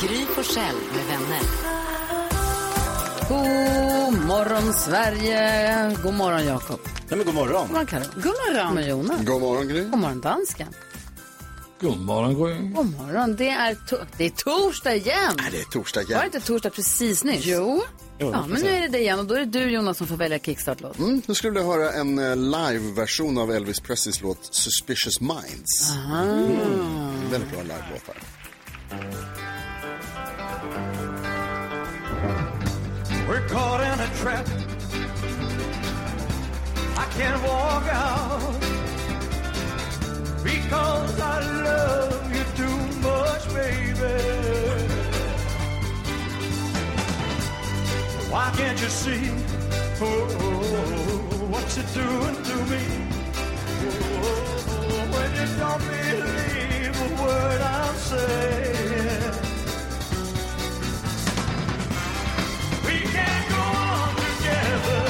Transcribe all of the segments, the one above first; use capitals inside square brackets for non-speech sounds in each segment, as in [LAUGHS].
Gry Forssell med vänner. God morgon, Sverige. God morgon, Jakob. Nej, men god morgon. God morgon, Karin. God morgon. God morgon, Jonas. God morgon, Gry. God morgon, dansken. God morgon, Gry. God morgon. Det är, to- det är torsdag igen. Det är torsdag Var det igen. inte torsdag precis nyss? Jo. Ja, men nu är det det igen och då är det du, Jonas, som får välja kickstart-låt. Mm, nu skulle jag höra en eh, live-version av Elvis Presleys låt Suspicious Minds. En väldigt bra live-låt här. We're caught in a trap. I can't walk out because I love you too much, baby. Why can't you see oh, what you're doing to me? Oh, when you don't believe a word I'm saying. We can't go on together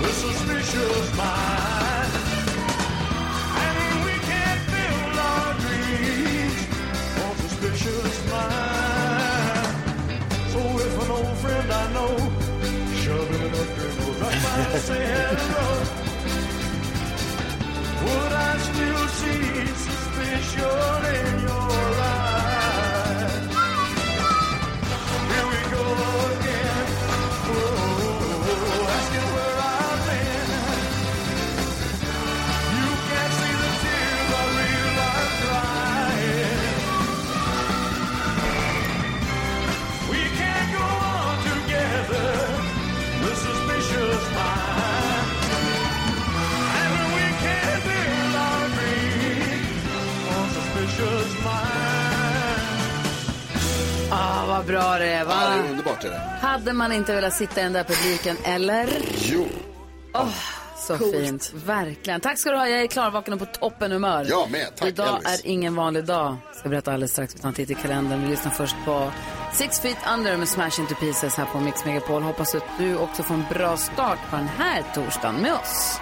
with suspicious minds. And we can't build our dreams on suspicious minds. So if an old friend I know shoving a dribble right by and say hello, would I still see suspicion in your eyes? Here we go again. Oh, asking where I've been. You can't see the tears I real are crying. We can't go on together. The suspicious mind. And we can't build our dreams on suspicious mind. Ah, vad bra det är, Ja, va? det är underbart. Är det. Hade man inte velat sitta i den där publiken, eller? Jo, Så fint. Verkligen. Tack ska du ha. Jag är klarvaken och på toppenhumör. Jag med. Tack, Idag Elvis. är ingen vanlig dag. Ska berätta alldeles strax. Vi tar en titt i kalendern. Vi lyssnar först på Six Feet Under med Smash Into Pieces här på Mix Megapol. Hoppas att du också får en bra start på den här torsdagen med oss.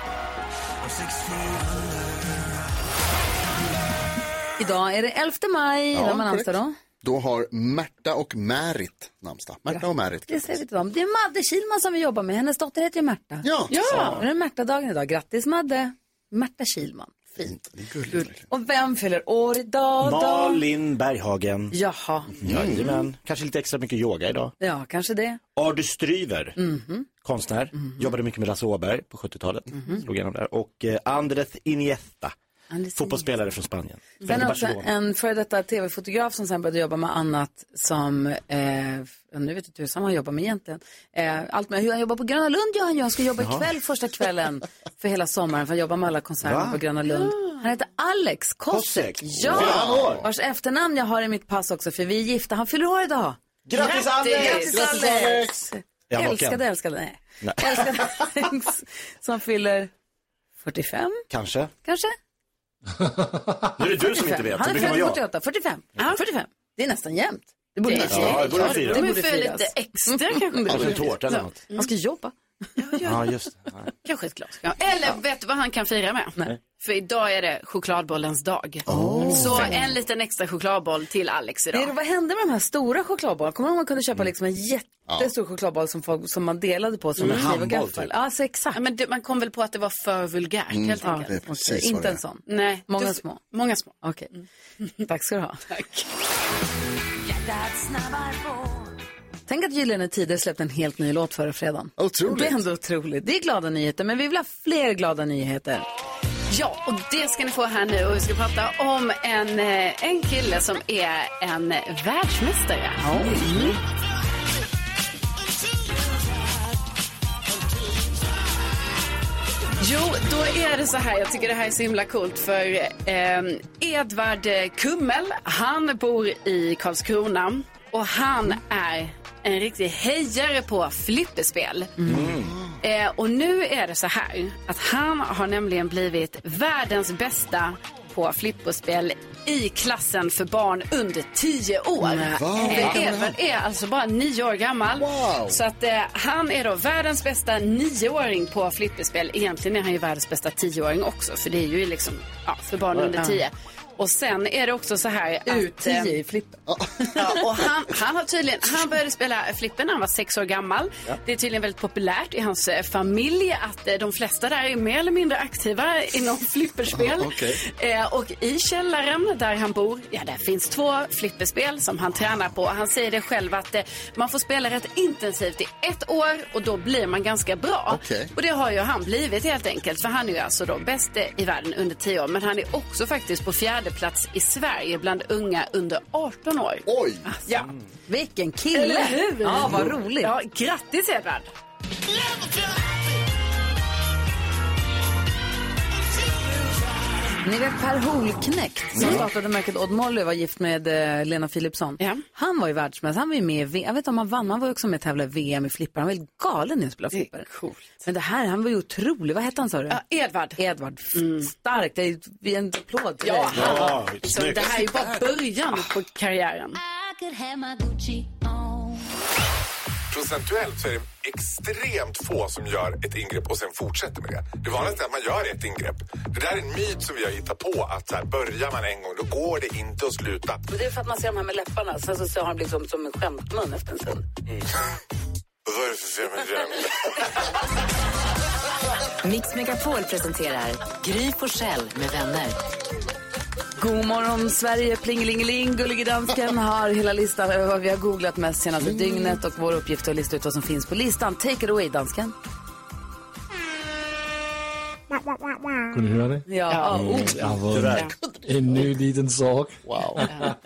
Idag är det 11 maj. Ja, När man korrekt. namnsdag då? då har Märta och Märit namnsdag. Märta och Märit. Det säger vi till dem. Det är Madde Kilman som vi jobbar med. Hennes dotter heter ju Märta. Ja, Ja, det är Märta-dagen idag. Grattis Madde. Märta Kilman. Fint. det är gulligt. verkligen. Och vem fyller år idag då? Malin Berghagen. Jaha, Jajamän. Kanske lite extra mycket yoga idag. ja kanske det. Mhm. Ardu Stryver, Mm. konstnär. Jobbade mycket med Lasse Åberg på 70-talet. Slog igenom där. Och eh, Andrés Iniesta, Mm-hmm. Andres fotbollsspelare från Spanien. Sen Spelade i också eh, Barcelona. en före detta tv-fotograf som sen började jobba med annat som, eh, ja, nu vet jag inte hur han jobbar med egentligen. Eh, allt med hur han jobbar på Gröna Lund gör han ju. Han ska jobba ikväll första kvällen för hela sommaren för han jobbar med alla konserter Va? på Gröna Lund. Han heter Alex Kosek. Kosek. Fyller han Ja, år? vars efternamn jag har i mitt pass också för vi är gifta. Han fyller år idag. Grattis Grattis, Anders! Alex! Jag var Älskade, Ken. älskade, nej. Nej. Älskade [LAUGHS] Alex som fyller 45 Kanske. kanske? Nu är det du som inte 45. vet. Han Det är brukar vara född jag. 48, 45, 45. Det är nästan jämnt. Det borde nästan Ja, det borde Alltså, man fira. Det Du borde får firas. lite extra [LAUGHS] kanske. Kanske en tårta eller något. Mm. Han ska jobba. Ja, just det. Ja. Kanske ett glas. Ja. Eller vet du vad han kan fira med? För idag är det chokladbollens dag. Oh. Så en liten extra chokladboll till Alex Det är, idag. vad hände med de här stora chokladbollarna? Kommer du ihåg man kunde Mm. köpa liksom en jättestor chokladboll som, folk, som man delade på som en kniv och handboll, gaffel? typ. Ja, alltså, så exakt. Ja, men det, man kom väl på att det var för vulgärt helt ja, enkelt. är precis okej. vad Inte Mm. det är. en sån. Nej, Många du- små. Många små. Mm. Okej. [LAUGHS] Tack ska du ha. Tack. Tänk att Gyllene Tider släppte en helt ny låt förra fredagen. Otroligt. Det är ändå otroligt. Det är glada nyheter, men vi vill ha fler glada nyheter. Ja, och det ska ni få här nu. Och vi ska prata om en, eh, en kille som är en världsmästare. Mm. Jo, då är det så här. Jag tycker det här är så himla coolt för eh, Edvard Kummel, han bor i Karlskrona och han är en riktig hejare på flipperspel. Mm. Eh, och nu är det så här att han har nämligen blivit världens bästa på flipperspel i klassen för barn under 10 år. Nej. Va? Eh, Edvard är alltså bara 9 år gammal. Så att eh, han är då världens bästa 9-åring på flipperspel. Egentligen är han ju världens bästa 10-åring också för det är ju liksom ja, för barn under Ja. 10. Och sen är det också så här att... eh, U10 i flippen. Ja, och han, han, har tydligen, han började spela flipper när han var sex år gammal. Ja. Det är tydligen väldigt populärt i hans eh, familj att eh, de flesta där är mer eller mindre aktiva inom flipperspel. Ja, okej. eh, och i källaren där han bor, ja där finns två flipperspel som han tränar på. Han säger det själv att eh, man får spela rätt intensivt i ett år och då blir man ganska bra. Okej. Och det har ju han blivit helt enkelt. För han är ju alltså då bäst eh, i världen under 10 år. Men han är också faktiskt på fjärde plats i Sverige bland unga under 18 år. Alltså, Oj! Ja. Mm. Vilken kille! Eller hur? Ja, vad roligt. Ja, grattis Edvard! Ni vet Per Holknekt Mm. som startade märket Odd Molly och var gift med eh, Lena Philipsson. Han var ju världsmästare, han var ju med i V- jag vet inte om han vann, han var ju också med och tävlade i VM i flipper. Han var helt galen i att spela flipper. Men det här, han var ju otrolig, vad hette han sa du? Ja, Edvard. Mm. Edvard, stark, det är ju en applåd till Ja, dig. han, så det här är ju bara början på karriären. [LAUGHS] Procentuellt så är det extremt få som gör ett ingrepp och sen fortsätter med det. Det vanligaste är att man gör ett ingrepp. Det där är en myt som vi har hittat på att så här, börjar man en gång då går det inte att sluta. Men det är för att man ser de här med läpparna, sen så, så har han blivit som, som en skämtmun efter en stund. Och då är det för fel med det. Mix Megapol presenterar Gry Forssell med vänner. God morgon Sverige, plingelingeling, gullige dansken har hela listan över vad vi har googlat mest senaste dygnet och vår uppgift är att lista ut vad som finns på listan. Take it away dansken. Kan du höra det? Ja. Ja. Mm, jag har fått Tyvärr. en ny liten sak. Wow. [LAUGHS]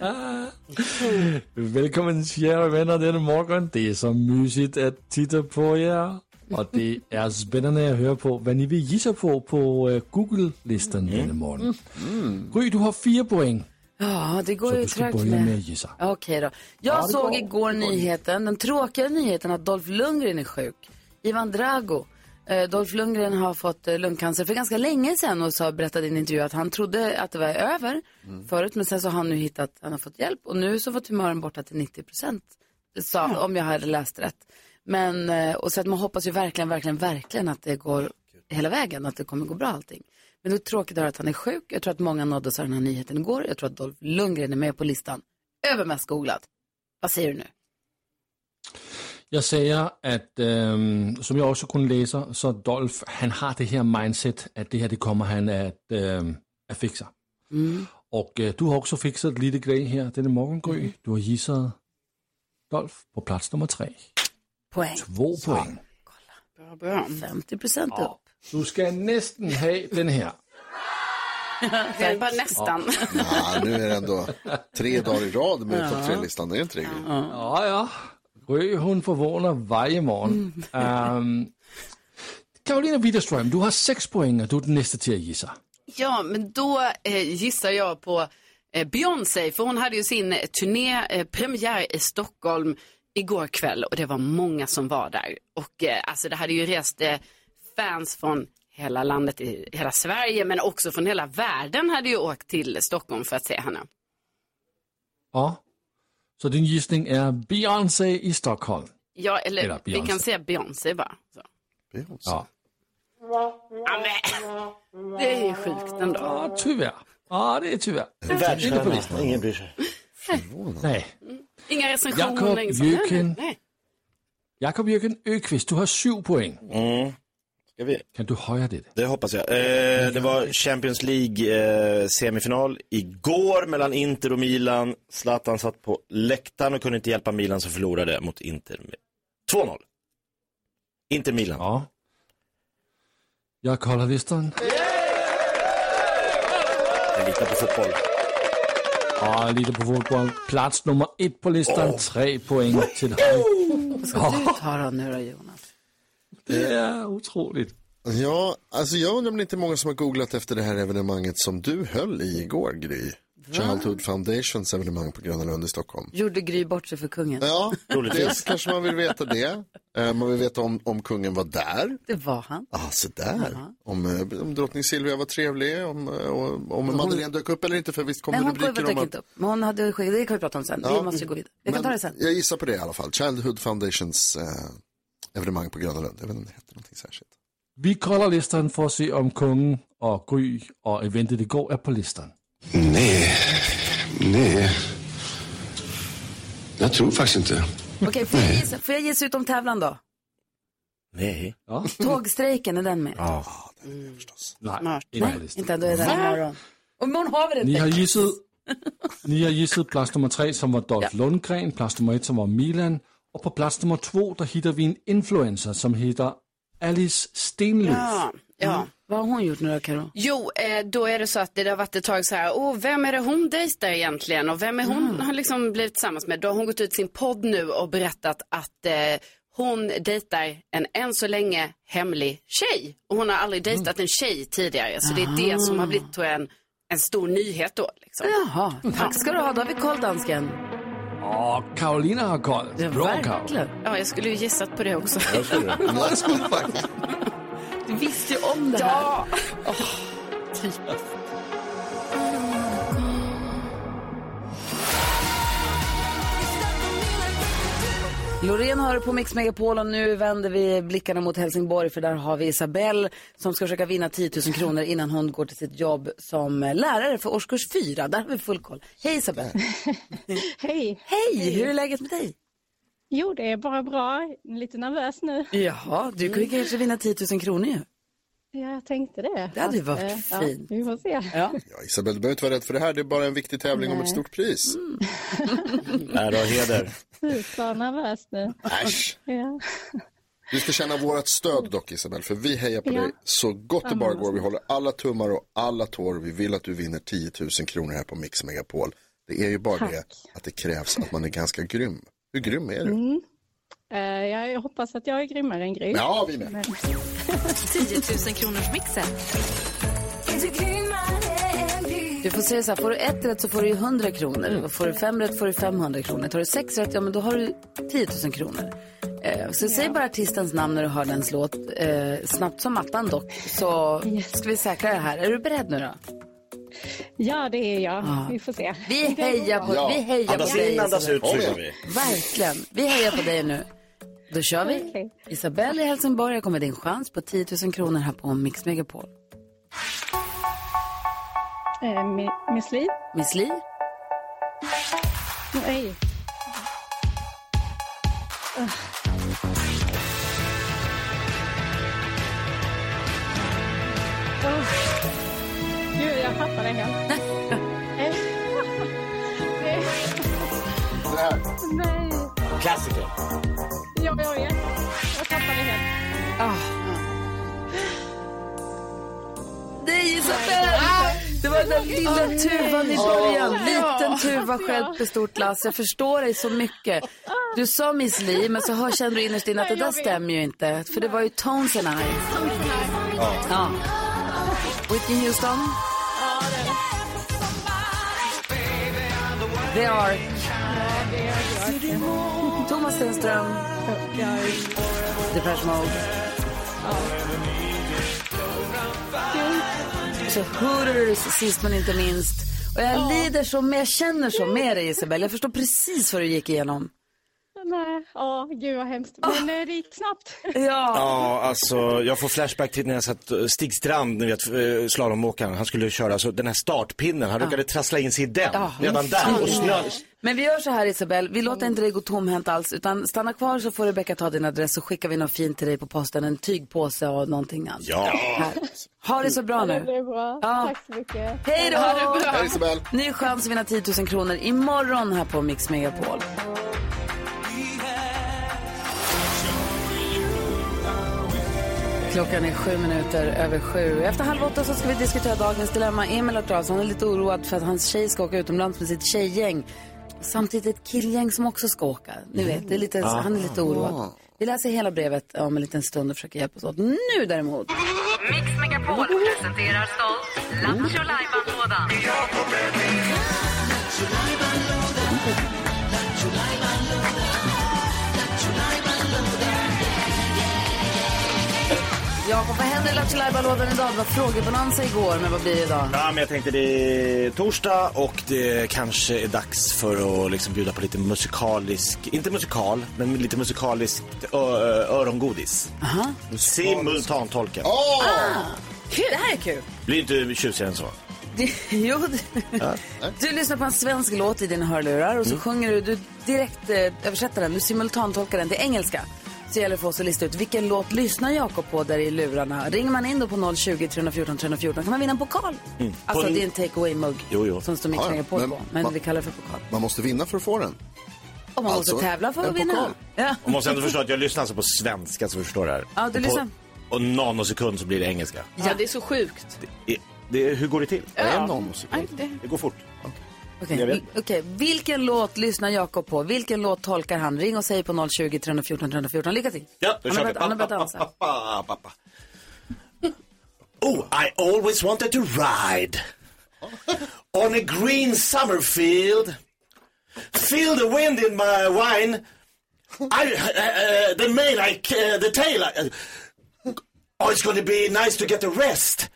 Välkommen kära vänner denna morgon. Det är så mysigt att titta på er. Och det är spännande att höra på vad ni vill gissa på på eh, Google-listan Mm. denna morgon. Gry, du har fyra poäng. Ja, det går Så ju du ska trögt börja med att med. gissa. Okej då. Jag såg igår nyheten, den tråkiga nyheten att Dolph Lundgren är sjuk. Ivan Drago. Eh, Dolph Lundgren har fått eh, lungcancer för ganska länge sedan och sa, berättade i en intervju att han trodde att det var över Mm. förut men sen så har han nu hittat, han har fått hjälp och nu så var tumören borta till 90 procent. Sa, Om jag hade läst rätt. Men, eh, och så att man hoppas ju verkligen, verkligen, verkligen att det går hela vägen, att det kommer gå bra allting. Men det är tråkigt att höra att han är sjuk. Jag tror att många nåddes av den här nyheten igår. Jag tror att Dolph Lundgren är med på listan över mest googlat. Vad säger du nu? Jag säger att, ehm, som jag också kunde läsa, så Dolph, han har det här mindset att det här det kommer han att, ehm, att fixa. Mm. Och eh, du har också fixat lite grej här denna morgon, Gry. Du har gissat Dolph på plats nummer tre. Poäng. Två poäng. Bra, bra. 50 procent upp. Du ska nästan ha den här. Det är bara nästan. Ja, nu är det ändå tre dagar i rad med Ja. topp tre-listan. Det är inte riktigt. Ja, ja. Gry, hon förvånar varje morgon. Ehm, Karolina Widerström, du har sex poäng och du är den nästa till att gissa. [LAUGHS] Ja, men då eh, gissar jag på eh, Beyoncé, för hon hade ju sin turné, eh, premiär i Stockholm igår kväll och det var många som var där. Och eh, alltså det hade ju rest eh, fans från hela landet, i hela Sverige, men också från hela världen hade ju åkt till Stockholm för att se henne. Ja. Så din gissning är Beyoncé i Stockholm. Ja, eller, Eller vi Beyoncé. kan säga Beyoncé bara. Så. Ja. Det är ju sjukt ändå. Tyvärr. Ja, det är tyvärr. Inte på listan. Ingen bryr sig. [LAUGHS] Nej. Inga recensioner. Jakob inget sånt. Nej, nej, Jöken. nej. Jakob Jürgen Öqvist, du har sju poäng. Mm. Ska vi? Kan du höja det? Det hoppas jag. Eh, det var Champions League-semifinal igår mellan Inter och Milan. Zlatan satt på läktaren och kunde inte hjälpa Milan som förlorade mot Inter. med 2-0. Inter-Milan. Ja. Jag kollar listan. Jag litar på fotboll. Ja, lite på fotboll. Plats nummer ett på listan. Tre poäng till dig. Vad ska du ta då nu då Jonas? Det är otroligt. Ja, alltså jag undrar om det inte är många som har googlat efter det här evenemanget som du höll i igår, Gry. Childhood Foundations evenemang på Gröna Lund i Stockholm. Gjorde Gry bort sig för kungen? Ja, dels kanske man vill veta det. Eh, Man vill veta om, om kungen var där. Det var han. Ah, så där. Om, eh, om drottning Silvia var trevlig, om, eh, om, om Hon- Madeleine dök upp eller inte, för visst kom Nej, det hon kommer rubriker om väl att... inte upp. Men hon hade, det kan vi prata om sen. Vi måste ju gå vidare. Jag kan men ta det sen. Jag gissar på det i alla fall. Childhood Foundations eh, evenemang på Gröna Lund. Jag vet inte om det hette någonting särskilt. Vi kollar listan for at se, om kongen og Gry og eventet i går er på listan. Nej, nej. Jag tror faktiskt inte. Mm. Okej, får jag gissa- får jag gissa ut om tävlan då? Nej. Ja. Tågstrejken, är den med? Ja. Mm, Nej, ikke på Nej, listan. inte ändå. Är den imorgon. Och imorgon har vi den. Ni har gisset, ni har gisset plads nummer tre, som var Dolph Lundgren, plads nummer ett som var Milan, och på plats nummer två, där hittar vi en influencer, som heter Alice Stenlöf. Ja, ja. Vad har hon gjort nu då, Karo? Jo, eh, då är det så att det har varit ett tag så här, åh, vem är det hon dejtar egentligen och vem är hon Mm. har liksom blivit tillsammans med? Då har hon gått ut sin podd nu och berättat att eh, hon dejtar en än så länge hemlig tjej. Och hon har aldrig Mm. dejtat en tjej tidigare, så det är det som har blivit tror jag, en, en stor nyhet då. Liksom. Jaha, tack ska du ha. Då har vi koll, dansken. Och Karolina har koll. Bra Karol. Ja, jag skulle ju gissat på det också. [LAUGHS] Du visste ju om det här. Ja. Loreen har det på Mix Megapol och nu vänder vi blickarna mot Helsingborg för där har vi Isabelle som ska försöka vinna 10 000 kronor innan hon går till sitt jobb som lärare för årskurs 4. Där har vi full koll. Hej Isabelle! Hej! Hej! Hur är läget med dig? Jo, det är bara bra. Jag är Lite nervös nu. [LAUGHS] Jaha, du kan ju kanske vinna 10 000 kronor ju. Ja, jag tänkte det. Det hade ju Att, varit eh, fint. Ja, vi får se. Ja. Ja, Isabel, du behöver inte vara rädd för det här. Det är bara en viktig tävling om ett Nej. stort pris. Mm. [LAUGHS] Ära och heder. Super nervös nu. Äsch. Ja. Du ska känna vårt stöd dock Isabel, för vi hejar på Ja. dig så gott det bara Ja, men vad går. Vi håller alla tummar och alla tår. Vi vill att du vinner 10 000 kronor här på Mix Megapol. Det är ju bara Tack. det att det krävs att man är ganska grym. Hur grym är du? Mm. Eh, ja, jag hoppas att jag är grymmare än Gry. Ja, vi med. Men... 10 000 kronors mixen. Du får säga så här, får du ett rätt så får du ju 100 kronor. Och Får du fem rätt får du 500 kronor. Tar du sex rätt, ja men då har du 10 000 kronor. Eh, så säg bara artistens namn när du hör dens låt, eh, snabbt som attan dock, så ska vi säkra det här. Är du beredd nu då? Ja, det är jag. Ja. Vi får se. Vi hejar på, Ja. vi hejar Andas på in, dig. andas Isabel. ut, så kör vi. Verkligen. Vi hejar på dig nu. Då kör vi. Isabelle i Helsingborg, här kommer din chans på 10 000 kronor här på Mix Megapol. [LAUGHS] Eh, Mi- Miss Li? Miss Li, Nej. Eh, Gud, jag tappade helt. Eh, eh, Nej. Klassiker. Jag, jag vet. Jag tappade helt. Nej, Isabel! Det var den där lilla tuvan i början. Liten tuva stjälpt i stort lass. Jag förstår dig så mycket. Du sa Miss Li, men så hör, känner du innerst inne att det där stämmer ju inte. För det var ju Tones and I. Ja. Whitney Houston. The Ark. Thomas Stenström. Depeche Mode. Så Hooters sist men inte minst. Och jag lider så, men jag känner så med dig Isabel. Jag förstår precis vad du gick igenom. Nej. Ja, gud vad hemskt. Men eh, det gick snabbt. Ja, alltså jag får flashback till när jag satt eh, Stig Strand, ni vet eh, slalomåkaren, han skulle köra så den här startpinnen, han råkade trassla in sig i den redan där och snö. Men vi gör så här Isabel, vi låter inte dig gå tomhänt alls utan stanna kvar så får Rebecca ta din adress så skickar vi något fint till dig på posten, en tygpåse och någonting annat. Ja. Här. Ha det så bra Ja, Det nu. blev bra. Ja. Tack så mycket. Hej då! Ha det bra. Ny chans att vinna 10 000 kronor imorgon här på Mix Megapol. Klockan är sju minuter över sju. Efter halv åtta så ska vi diskutera dagens dilemma. Emil har hört av sig. han är lite oroad för att hans tjej ska åka utomlands med sitt tjejgäng. Samtidigt ett killgäng som också ska åka. Ni vet, det är Mm. lite, Ah. han är lite oroad. Vi läser hela brevet om en liten stund och försöker hjälpas åt. Nu däremot. Mix Megapol presenterar stolt Lattjo Lajban-lådan. Jakob, vad händer i Lattjo Lajban-lådan idag? Det var frågebonanza igår, men vad blir det idag? Ja, men jag tänkte det är torsdag och det kanske är dags för att liksom bjuda på lite musikalisk, inte musikal, men lite musikaliskt ö- ö- örongodis. Aha. Simultantolken. Ah, kul, det här är kul. Blir inte tjusigare än så. Det- [LAUGHS] jo, det- Ja. du lyssnar på en svensk låt i dina hörlurar Mm. och så sjunger du, du direkt eh, översätter den, du simultantolkar den till engelska. Så gäller det för oss att lista ut vilken låt lyssnar Jakob på där i lurarna. Ringer man in då på 020 314 314 kan man vinna en pokal. Mm. Alltså På en- det är en takeaway-mugg Jo, jo. som står mitt ja, på på. Men man, vi kallar det för pokal. man måste vinna för att få den. Och man Alltså, måste tävla för en att vinna. pokal. [LAUGHS] Ja. Och måste ändå förstå att jag lyssnar alltså på svenska så förstår det här. Ja, du Och på- lyssnar. Och nanosekund så blir det engelska. Ja, det är så sjukt. Det, det, hur går det till? Ja. Vad är en nanosekund? Nej, det- Det går fort. Okej, Jag vet. vi- Eh, okej. vilken låt lyssnar Jakob på? Vilken låt tolkar han? Ring och säg på 020 314 314. Lycka till! Ja, då Han kör har vi. börjat- han har börjat dansa. Pappa, pappa. Oh, I always wanted to ride on a green summer field. Feel the wind in my wine. I, uh, uh, the mane, I, uh, the tail. I, uh, oh, it's going to be nice to get a rest.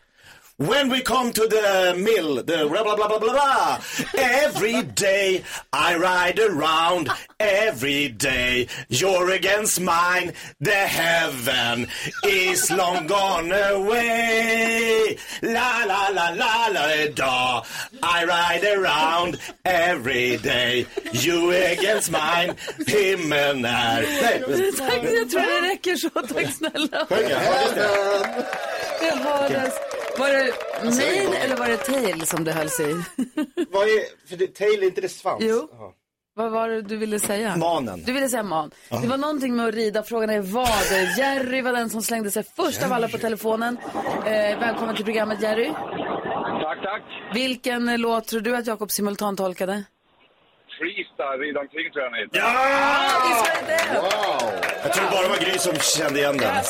When we come to the mill, the blah blah blah blah blah blah. Every day I ride around. Every day you're against mine. The heaven is long gone away. La la la la la da. I ride around every day. You against mine. Himlen är... Nej. [LAUGHS] [LAUGHS] Tack, jag tror det räcker så. Tack snälla. Det var det. Var det main eller var det tail som det [LAUGHS] hölls i? Vad är... För det, tail är inte det svans? Jo. Vad var det du ville säga? Manen. Du ville säga man. Ja. Det var någonting med att rida. Frågan är vad. Jerry var den som slängde sig först av alla på telefonen. Eh, välkommen till programmet Jerry. Tack, tack. Vilken eh, låt tror du att Jakob simultantolkade? Freestyle, rida omkring tror jag den heter. Jag tror bara det var Gry som kände igen den.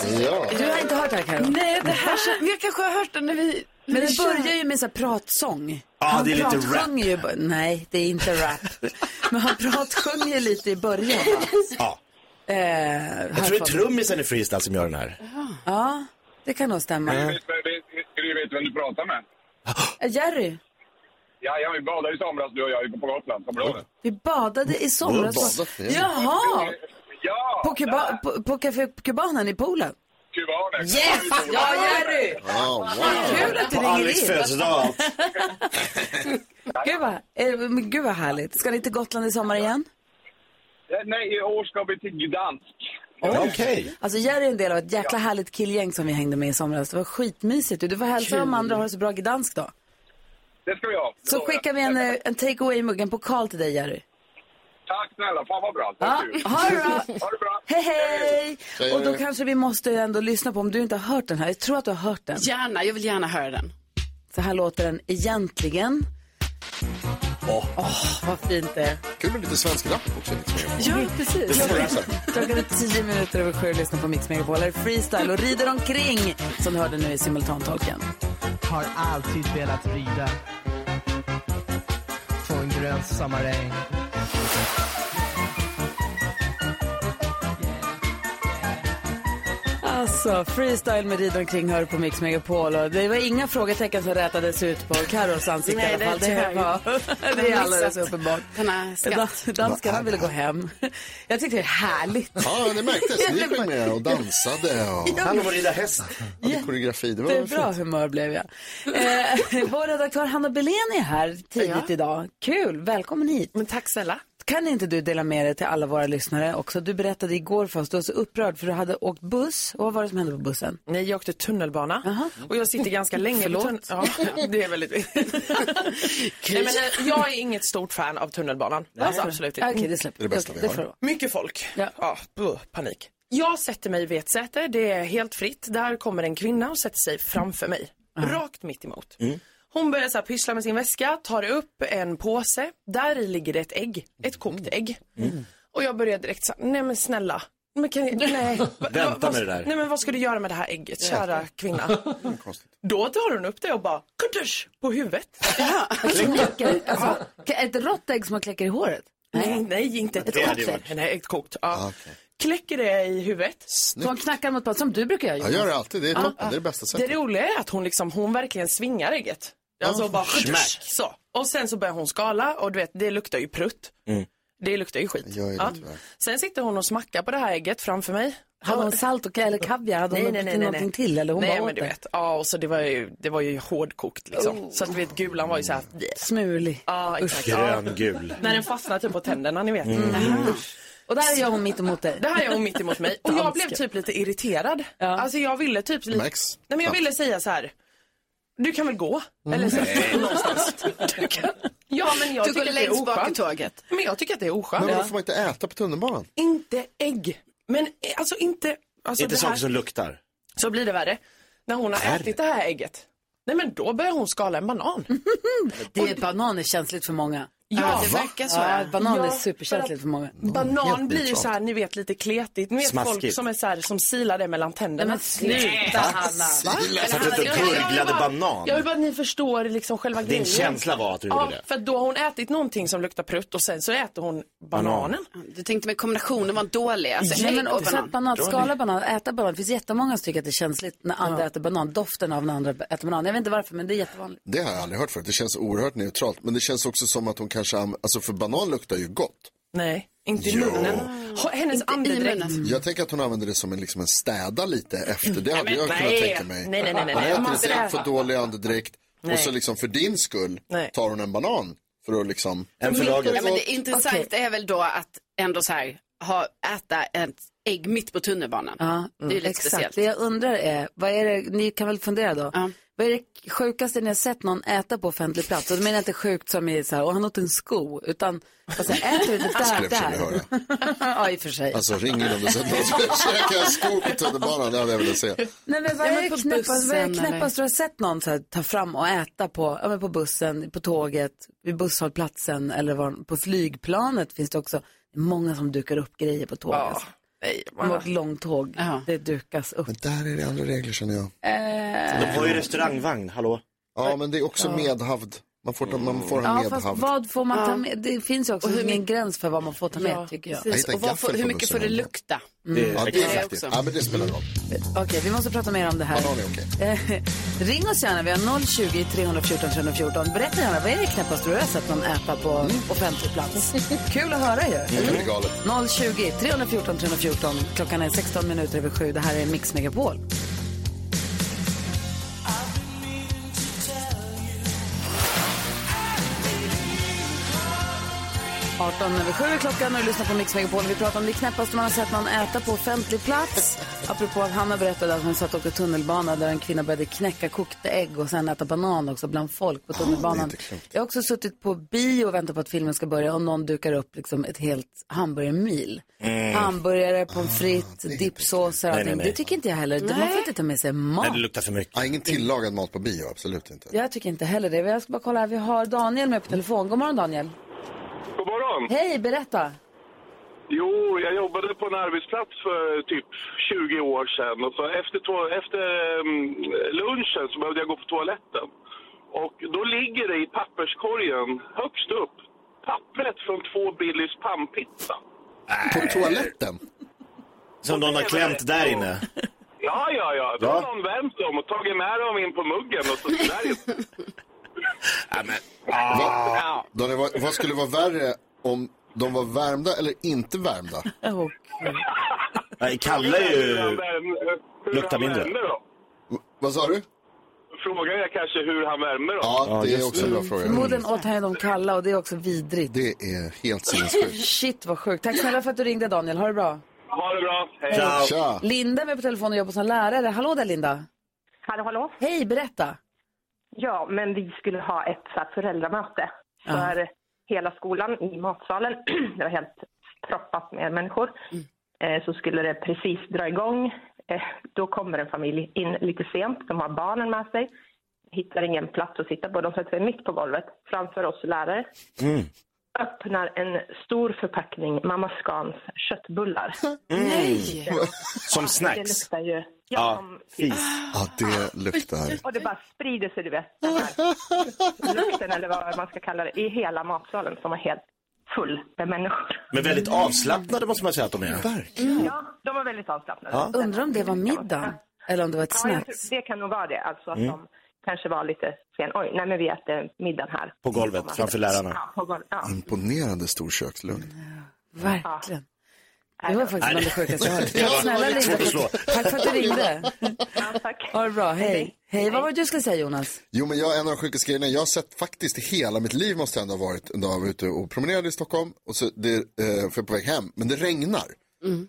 Du har inte hört det här Carro? Nej, det här kän- jag kanske har hört den när vi... när Men vi den kör. börjar ju med så här pratsång. Ja, Han det är lite pratsjunger Ju, bara- nej, det är inte rap. Men han pratsjunger lite i [LAUGHS] början. va? Ja. Jag Eh, här tror det är får- trummisen i freestyle som gör den här. Ja, det kan nog stämma. Mm. Du vet, vet- du vet vem du pratar med? Eh, Jerry, Ja, jag vi badade i somras du och jag på Gotland, kommer du ihåg det? vi badade i somras. Badat, ja. Jaha! Ja! På, Kuba, på, på Café Kubanen i poolen? Kubaner. Yes! Ja, Jerry! Kul att du På ringer Alex in. födelsedag. [LAUGHS] gud, vad, eh, men gud vad härligt. Ska ni till Gotland i sommar igen? Eh, Nej, i år ska vi till Gdansk. Alltså Jerry är en del av ett jäkla härligt killgäng som vi hängde med i somras. Det var skitmysigt. Du får hälsa de andra och ha det så bra gdansk då. Det ska vi ha. Så skickar vi en, eh, en take away-mugg, en pokal till dig Jerry. Tack snälla, fan vad bra. Ja, Tack, du. ha det bra. Ha det bra. Hej hej! Hej. Och då kanske vi måste ändå lyssna på om du inte har hört den här. Jag tror att du har hört den. Gärna, jag vill gärna höra den. Så här låter den egentligen. Åh, vad fint det är. Kul med lite svensk rap också. Liksom. Mm. Ja, precis. Det får jag säga. Klockan är tio minuter över sju och lyssnar på Mix Megapol. Här är freestyle och rider omkring som du hörde nu i simultantolken. Har alltid velat rida på en grön sommaräng. Alltså, freestyle med rider omkring hör du på Mix Megapol. Och det var inga frågetecken som rätades ut på Carros ansikte Nej, i alla [LAUGHS] fall. det är tyvärr- var, Den [LAUGHS] det är har alldeles missat. uppenbart. Den har skatt. [LAUGHS] Dan- Danskarna ville gå hem. Jag tyckte det var härligt. Ja, det märktes. Ni sjöng med och dansade. Och... [LAUGHS] Ja. Han och rida häst. Hade koreografi. Det var Det är bra fint. humör blev jag. Eh, [LAUGHS] vår redaktör Hanna Belén är här tidigt Ja. idag. Kul, välkommen hit. Men tack snälla. Kan inte du dela med dig till alla våra lyssnare också? Du berättade igår för oss, du var så upprörd för du hade åkt buss. Och vad var det som hände på bussen? Nej, jag åkte tunnelbana och jag sitter ganska länge Förlåt. på tunnelbanan. Ja, det är [LAUGHS] väldigt... Nej, men, eh, jag är inget stort fan av tunnelbanan. Alltså, Varför? absolut Ah, Okej, inte. det släpper vi. Det är det bästa Okej, vi det har. får det vara. Mycket folk. Ja. buh, panik. Jag sätter mig vid ett säte, det är helt fritt. Där kommer en kvinna och sätter sig framför mig. Ah. Rakt mitt emot. Mm, Hon börjar så här pyssla med sin väska, tar upp en Mm. mm. påse. Där i ligger det ett ägg. Ett kokt ägg. Och jag börjar direkt så här, nej men snälla, Men kan jag, nej. Va- Vänta va- vad- med det där. Nej men vad ska du göra med det här ägget, kära kvinna? Då drar hon upp det och bara kutusch på huvudet. Som kläcker, alltså, ett rått ägg som man kläcker i håret? Nej, nej inte ett Det hade kokt ju ägg. Nej, ett kokt. Ja. Kläcker det i huvudet. Så hon knackar mot bordet, som du brukar göra Jag Jonas. gör det alltid, det är toppen, det är det bästa Det roliga är att hon, liksom, hon verkligen svingar ägget. Alltså bara kutusch, så. Och sen så börjar hon skala och du vet, det luktar ju prutt. Det luktar ju skit. gör ju det, Ja. tyvärr. Sen sitter hon och smackar på det här ägget framför mig. Hade hon salt och, eller kaviar? Hade hon lagt till någonting till? Eller hon nej, bara men åt du det? vet. Ja, och så det var ju, det var ju hårdkokt liksom. Oh. Så att du vet, gulan var ju så här. Smulig. Ja, exakt. Ja. Gröngul. När den fastnar typ på tänderna, ni vet. Mm. Och där är jag hon mitt emot dig. Det här är hon mitt emot mig. [LAUGHS] Och jag Danske. blev typ lite irriterad. Alltså jag ville typ lite... Max. Nej men jag ville säga så här. Du kan väl gå? Eller så. Nej. [LAUGHS] Någonstans. Du kan... Ja men jag Du tycker går att det längst är bak i oskönt. tåget. Men jag tycker att det är oskönt. Men varför får man inte äta på tunnelbanan? Inte ägg. Men eh, alltså inte... Alltså, inte det saker här... som luktar. Så blir det värre. När hon har Värre? ätit det här ägget. Nej men då börjar hon skala en banan. Det är banan är känsligt för många. Ja, Ah, det va? verkar så. Ja, banan är Ja, superkänsligt för många. Banan blir ju så här, ni vet lite kletigt. Ni vet folk Smaskigt. som är så här, som silar det mellan tänderna. Nej, men sluta, Va? Hanna. Silar? Så att du inte gurglade banan? Jag vill bara att ni förstår liksom själva Din grejen. känsla var att du ja, gjorde det. för att då har hon ätit någonting som luktar prutt och sen så äter hon bananen. Du tänkte med kombinationen var dålig. Alltså, Nej, ägg men och också att banan, skala banan, äta banan. Det finns jättemånga som tycker att det är känsligt när andra äter banan. Doften av när andra äter banan. Jag vet inte varför, men det är jättevanligt. Det har jag aldrig hört förut. Det känns oerhört neutralt. Men det känns också som att hon kanske, anv- alltså för banan luktar ju gott. Nej, inte i Jo. munnen. Ha- Hennes Inte i andedräkt. munnen. Jag tänker att hon använder det som en, liksom en städa lite efter. Det hade Mm. jag Nej, men kunnat nej. tänka mig. Nej, nej, nej, nej. Hon Man äter måste lite äta. för dålig andedräkt Nej. och så liksom för din skull Nej. tar hon en banan för att liksom... Ja, men det intressant är väl då att ändå så här, ha, äta ett ägg mitt på tunnelbanan. Ja, Det är ju lite Mm. exakt. speciellt. Det jag undrar är, vad är det, ni kan väl fundera då. Vad är det sjukaste ni har sett någon äta på offentlig plats? Och då menar jag inte sjukt som i så här, och han åt en sko. Utan, alltså, äter du det där, Skulle jag försöka där? höra. [LAUGHS] ja, i och för sig. Alltså ring in om du sett någon som [LAUGHS] [LAUGHS] käkar skor på tunnelbanan. Det hade jag velat se. Nej, men vad Ja, är men det på knäppast, vad är det bussen eller? knäppast du har sett någon så här, ta fram och äta på, ja, men på bussen, på tåget, vid busshållplatsen eller var, på flygplanet finns det också många som dukar upp grejer på tåget. Ja, alltså. nej, man... Vårt långtåg, det dukas upp. Men där är det andra regler känner jag. Eh, De har ju restaurangvagn, hallå? Ja, men det är också Ja. medhavd. Man får, ta, man får ha Ja, fast medhavd. vad får man ta Ja. med? Det finns ju också Och hur ingen gräns för vad man får ta med, tycker jag. precis. Och vad får, hur mycket får det lukta? Mm. Ja, det Det är är viktigt. också. Ja, men det spelar roll. Okej, vi måste prata mer om det här. Banan är okej. Eh, Ring oss gärna, vi har 020 314 314. Berätta gärna, vad är det knäppaste du har sett någon äta på offentlig plats? Mm. Kul att höra ju. Det är galet. 020 314 314. Klockan är 16 minuter över sju. Det här är Mix Megapol. Arton över sju är klockan och du lyssnar på Mix Megapol. Vi pratar om det knäppaste man har sett någon äta på offentlig plats. Apropå att Hanna berättade att hon satt och åkte tunnelbana där en kvinna började knäcka kokta ägg och sen äta banan också bland folk på tunnelbanan. Jag har också suttit på bio och väntat på att filmen ska börja och någon dukar upp liksom ett helt hamburgermil. Mm. Hamburgare, Ah, pommes frites, dippsåser, Nej, nej, allting. nej. Det tycker inte jag heller. Man får Nej. inte ta med sig mat. Nej, det luktar för mycket. Ja, ingen tillagad mat på bio, absolut inte. Jag tycker inte heller det. Jag ska bara kolla här. Vi har Daniel med på telefon. God morgon Daniel. God morgon! Hej, berätta. Jo, jag jobbade på en arbetsplats för typ 20 år sedan. Och så efter, to- efter ehm, lunchen så behövde jag gå på toaletten. Och då ligger det i papperskorgen högst upp pappret från två Billys pannpizza. På toaletten? Som någon har klämt där inne. Ja, ja, ja. Då har någon vänt dem och tagit med dem in på muggen och [LAUGHS] så där. Ah. Va, Daniel, vad, vad skulle vara värre om de var värmda eller inte värmda? Nej, Kalle är ju... Luktar mindre. V- Vad sa du? Frågan är kanske hur han värmer dem. Ja, det är också en bra fråga. Förmodligen åt han ju dem kalla och det är också vidrigt. Det är helt sinnessjukt. [LAUGHS] Shit vad sjukt. Tack snälla för att du ringde Daniel. Ha det bra. Ha det bra. Hej. Tja. Linda är med på telefon och jobbar som lärare. Hallå där Linda. Hallå, hallå. Hej, berätta. Ja, men vi skulle ha ett så här, föräldramöte för hela skolan i matsalen. [CLEARS THROAT] det var helt proppat med människor. Eh, så skulle det precis dra igång. Eh, då kommer en familj in lite sent. De har barnen med sig. Hittar ingen plats att sitta på. De sätter sig mitt på golvet framför oss lärare. öppnar en stor förpackning Mamma Scans köttbullar. Nej! Mm. [LAUGHS] Som Det snacks. luktar ju... Ja, som- fis. Ja, det luktar. Och det bara sprider sig, du vet. Den här lukten, eller vad man ska kalla det, i hela matsalen som var helt full med människor. Men väldigt avslappnade måste man säga att de är. Ja, de var väldigt avslappnade. Ja. Undrar om det var middag eller om det var ett Ja, jag snack. tror- det kan nog vara det, alltså att Mm. de kanske var lite sen. Oj, nej men vi äter middag här. På golvet, framför lärarna. Ja, på golvet. Ja. Imponerande stor kökslugn. Verkligen. Det var faktiskt bland det sjukaste jag hört. Ja, det Tack var snälla lite Linda. svårt att slå. för- Tack för att du ringde. Ha det bra. Hej. Hej. Vad var det du skulle säga Jonas? Jo, men jag, en av de sjukaste grejerna jag har sett faktiskt i hela mitt liv måste ändå ha varit när jag var ute och promenerade i Stockholm och så det, eh, för jag är på väg hem, men det regnar. Mm.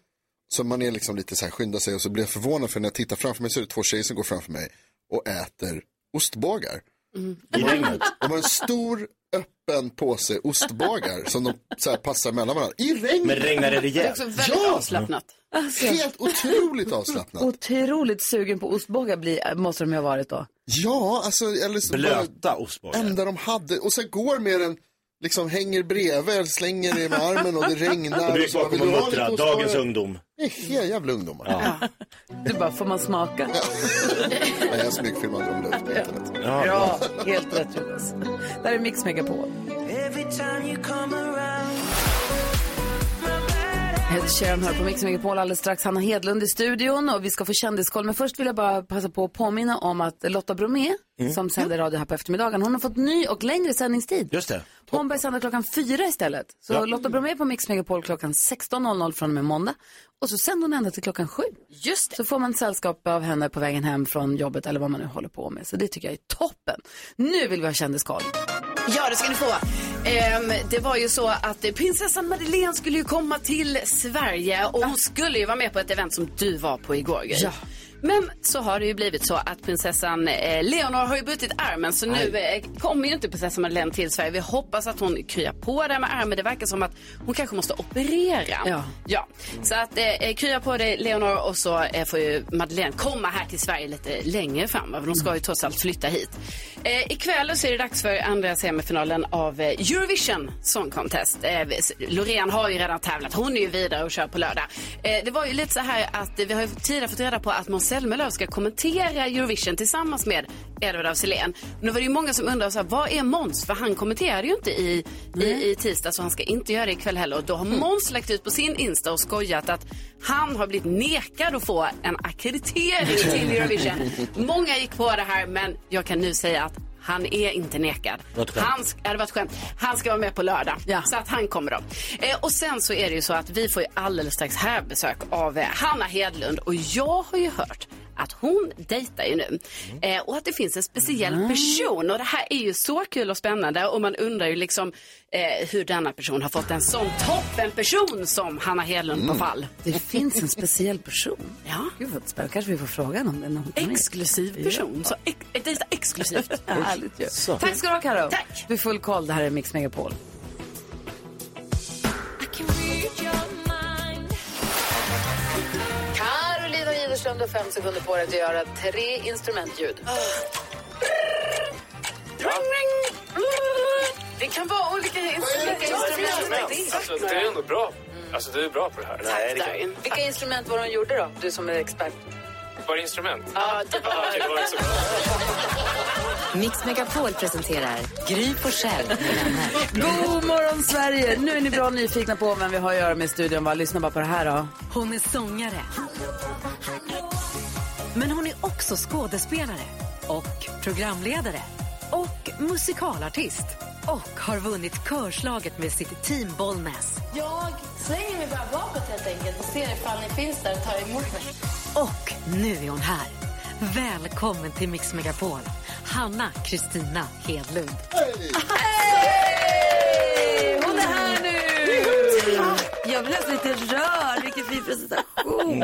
Så man är liksom lite så här, skyndar sig och så blir jag förvånad för när jag tittar framför mig så är det två tjejer som går framför mig och äter ostbågar. mm. De har- De har en stor öppen påse ostbågar som de så här passar mellan varandra i regnet. Men regnar det rejält? Det är också väldigt ja! avslappnat. Alltså, Helt otroligt avslappnat. otroligt sugen på ostbågar blir- måste de ju ha varit då. Ja, alltså eller så Blöta ostbågar. Enda de hade, och sen går med den, liksom hänger bredvid, eller slänger det med armen och det regnar. Och du är och så bara, kvar vill kommer du ha muttra, lite ostbågar? dagens ungdom. Det är helt jävla ungdomar. Ja. Du bara, får man smaka? Jag är smygfilmad om det på internet. [LAUGHS] Bra, helt rätt Jonas. Där är Mix Megapol. Every time you come around Ed Sheeran hör på Mix Megapol alldeles strax. Hanna Hedlund i studion och vi ska få kändiskoll. Men först vill jag bara passa på att påminna om att Lotta Bromé, Mm. som sänder radio här på eftermiddagen, hon har fått ny och längre sändningstid. Just det. Hon börjar sända klockan fyra istället. Så Ja. Lotta Bromé på Mix Megapol klockan 16.00 från och med måndag. Och så sänder hon ända till klockan sju. Just Så får man sällskap av henne på vägen hem från jobbet eller vad man nu håller på med. Så det tycker jag är toppen. Nu vill vi ha kändiskoll. Ja, det ska ni få. Ehm, det var ju så att eh, prinsessan Madeleine skulle ju komma till Sverige och hon skulle ju vara med på ett event som du var på igår. Gry. Ja. Men så har det ju blivit så att prinsessan eh, Leonor har ju brutit armen så nu eh, kommer ju inte prinsessan Madeleine till Sverige. Vi hoppas att hon kryar på det här med armen. Det verkar som att hon kanske måste operera. Ja. Så att eh, krya på dig Leonor och så eh, får ju Madeleine komma här till Sverige lite längre fram. va? För de ska ju trots allt flytta hit. Eh, ikväll så är det dags för andra semifinalen av eh, Eurovision Song Contest. Eh, s- Loreen har ju redan tävlat. Hon är ju vidare och kör på lördag. Eh, det var ju lite så här att eh, vi har ju tidigare fått reda på att Måns Zelmerlöw ska kommentera Eurovision tillsammans med Edward af Sillén. Nu var det ju många som undrade så här, vad är Måns? För han kommenterade ju inte i, i, i tisdag så han ska inte göra det ikväll heller. Och då har Mm. Måns lagt ut på sin Insta och skojat att han har blivit nekad att få en [LAUGHS] ackreditering till Eurovision. Många gick på det här men jag kan nu säga att han är inte nekad. Vad skönt. Han, sk- ja, det var ett skämt. han ska vara med på lördag. Så att han kommer då. Eh, och sen så är det ju så att vi får ju alldeles strax här besök av eh, Hanna Hedlund. Och jag har ju hört att hon dejtar ju nu. Eh, och att det finns en speciell Mm. person. Och det här är ju så kul och spännande. Och man undrar ju liksom eh, hur denna person har fått en sån toppenperson som Hanna Hedlund på fall. Det finns en speciell [LAUGHS] person. Ja. Gud vad spännande. Kanske vi får frågan om den när hon kommer Exklusiv person. Så ex- dejta [LAUGHS] exklusivt. Härligt ju. Så. Tack ska du ha Karo. Tack. Du är full koll. Det här är Mix Megapol. Carolina Widerström, du har fem sekunder på dig att göra tre instrumentljud. Det kan vara olika instrument. Alltså, du är ändå bra. Alltså, du är bra på det här. Tack, Darin. Vilka instrument var det hon gjorde då? Du som är expert. Var det instrument? Ja, det var Okej, var det så bra? Mix Megapol presenterar Gry på själv med vänner. God morgon, Sverige! Nu är ni bra nyfikna på vem vi har att göra med i studion. Va? Lyssna bara på det här. Då. Hon är sångare. Men hon är också skådespelare och programledare och musikalartist och har vunnit körslaget med sitt team Bollnäs. Jag slänger mig bara bakåt helt enkelt och ser ifall ni finns där och tar emot mig. Och nu är hon här. Välkommen till Mix Megapol, Hanna Kristina Hedlund. Hej! Hon är här nu! Jag blev nästan lite rörd. Vilken fin [LAUGHS] presentation.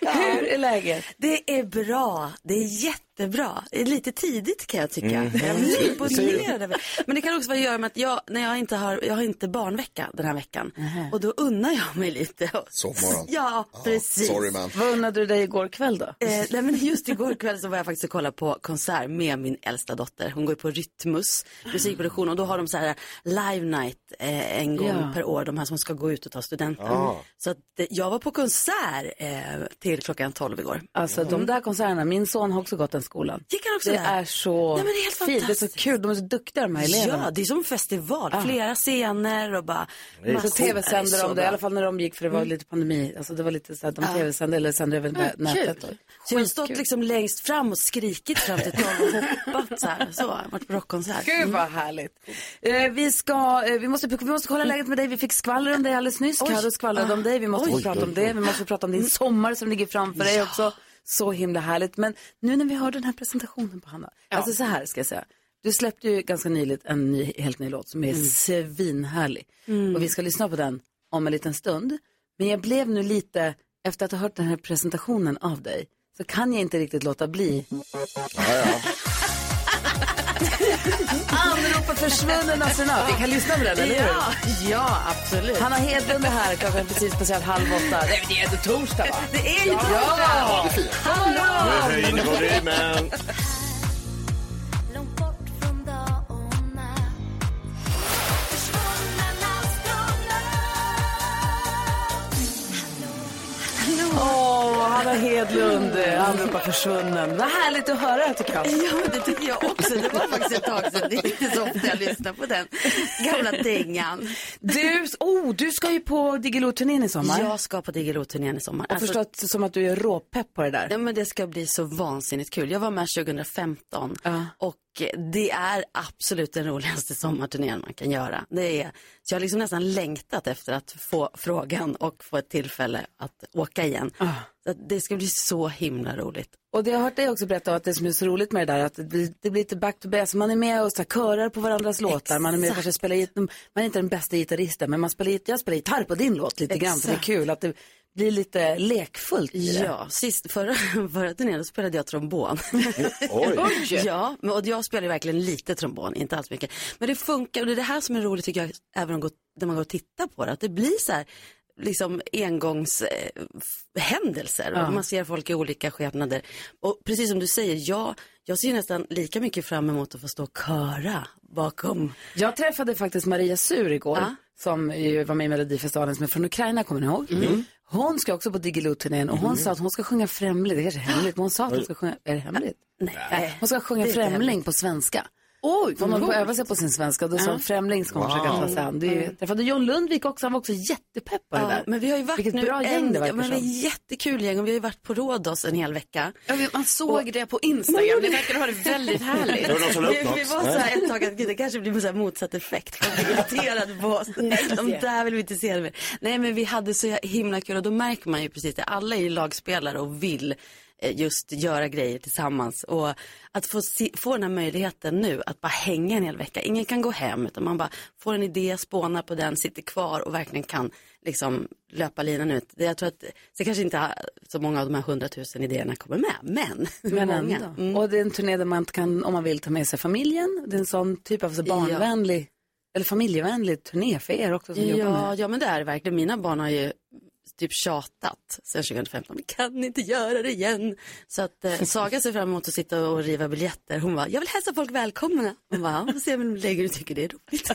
Hur är läget? Det är bra. Det är jätte jättebra. Lite tidigt kan jag tycka. Mm. Jag Mm. blir imponerad över Men det kan också vara att göra med att jag, när jag inte har, jag har inte barnvecka den här veckan. Och då unnar jag mig lite. Sovmorgon. Ja, precis. sorry, man. Vad unnade du dig igår kväll då? Eh, nej men just igår kväll så var jag faktiskt och kollade på konsert med min äldsta dotter. Hon går ju på Rytmus musikproduktion och då har de så här live night eh, en gång Ja. per år, de här som ska gå ut och ta studenten. Ja. Så att, eh, jag var på konsert eh, till klockan 12 igår. Alltså de där konserterna, min son har också gått den skolan. Mm. Gick han också det där? är så Nej, men det är helt fint, det är så kul, de är så duktiga de här eleverna. Ja, det är som en festival, Ah. flera scener och bara Så massor. Det är tv-sände så de det, bra. i alla fall när de gick för det var Mm. lite pandemi. Alltså det var lite så att de Ja. tv-sände eller sände över Ja, nätet. Ah, kul. då. Så jag har stått liksom längst fram och skrikit fram till tolv och hoppat så här. Så, jag har varit på rockkonsert. Mm. Gud vad härligt. Eh, vi, ska, eh, vi, måste, vi måste kolla läget med dig. Vi fick skvaller om dig alldeles nyss. Oj. Ah. Carro skvallrade om dig. Vi måste Oj. Mm. få prata om det. Vi måste få prata om din sommar som ligger framför dig Ja. också. Så himla härligt. Men nu när vi har den här presentationen på Hanna. Alltså så här ska jag säga. Du släppte ju ganska nyligt en ny, helt ny låt som är Mm. svinhärlig. Mm. Och vi ska lyssna på den om en liten stund. Men jag blev nu lite, efter att ha hört den här presentationen av dig, så kan jag inte riktigt låta bli. Anropa försvunnen astronaut. Vi kan lyssna på den, eller hur? Ja, ja absolut. Hanna Hedlund är här. Klockan är precis passerat halv åtta. Nej, men det är ändå torsdag, va? Det är ju ja. torsdag. Ja! Hallå! Nu höjer ni volymen. Åh, Hanna Hedlund eh, anropar försvunnen. Vad härligt att höra, tycker jag. Ja, men det tycker jag också. Det var faktiskt ett tag sedan. Det är inte så ofta jag lyssnar på den gamla dängan. Du, oh, du ska ju på Diggiloo-turnén i sommar. Jag ska på Diggiloo-turnén i sommar. Alltså- Jag har förstått som att du är råpepp på det där. Ja, men det ska bli så vansinnigt kul. Jag var med 2015 och det är absolut den roligaste sommarturnén man kan göra. Det är, så jag har liksom nästan längtat efter att få frågan och få ett tillfälle att åka igen. Ah. Så att det ska bli så himla roligt. Och det jag har hört dig också berätta om att det som är så roligt med det där är att det blir, det blir lite back to back. Så man är med och så här, körar på varandras låtar. Man är med och kanske spelar git- man är inte den bästa gitarristen men man spelar, git- jag spelar gitarr på din låt lite grann. Så det är Exakt. kul att det blir lite lekfullt i det. Ja, sist, förra, [LAUGHS] förra turnén då spelade jag trombon. Oj. ja, men, och jag spelar verkligen lite trombon, inte alls mycket. Men det funkar, och det är det här som är roligt tycker jag, även om går, när man går och tittar på det, att det blir så här, liksom engångshändelser. Ja. och Man ser folk i olika skepnader. Och precis som du säger, jag, jag ser nästan lika mycket fram emot att få stå och köra bakom. Jag träffade faktiskt Maria Sur igår, Ja. som ju var med i Melodifestivalen, som är från Ukraina, kommer ni ihåg? Mm. Hon ska också på Diggiloo-turnén och hon sa att hon ska sjunga Främling, det kanske är hemligt, men hon sa att hon ska sjunga, är det hemligt? Nej. Hon ska sjunga Det är inte Främling hemligt. på svenska. Oj, hon håller på att öva sig på sin svenska, då sa hon Ja. Främling ska hon Wow. Mm. försöka ta sig an. Det är ju- Jag träffade John Lundvik också, han var också jättepepp på det där. men vi har ju varit Vilket nu bra gäng en, det ja, verkar men vi är som. ett jättekul gäng och vi har ju varit på Rhodos en hel vecka. man såg det på Instagram. Ni verkar ha det [LAUGHS] väldigt härligt. Det Var det någon som la upp vi, något? vi var så Nej. här ett tag att gud, det kanske blir så här motsatt effekt. Folk blir irriterade på oss. De där vill vi inte se det mer. Nej men vi hade så himla kul och då märker man ju precis det. Alla är ju lagspelare och vill eh, just göra grejer tillsammans. Och att få, se, få den här möjligheten nu att bara hänga en hel vecka. Ingen kan gå hem utan man bara får en idé, spånar på den, sitter kvar och verkligen kan liksom löpa linan ut. Det- Jag tror att det kanske inte är så många av de här hundratusen idéerna kommer med, men, Men [LAUGHS] många. Mm. ändå. Och det är en turné där man kan, om man vill, ta med sig familjen. Det är en sån typ av så barnvänlig, eller familjevänlig turné för er också som jobbar med Ja, ja, men det är det verkligen. Mina barn har ju typ tjatat sedan 2015. Vi kan inte göra det igen. Så att eh, Saga ser fram emot att sitta och riva biljetter. Hon bara, jag vill hälsa folk välkomna. Hon bara, ja, får se om de lägger och tycker det är roligt.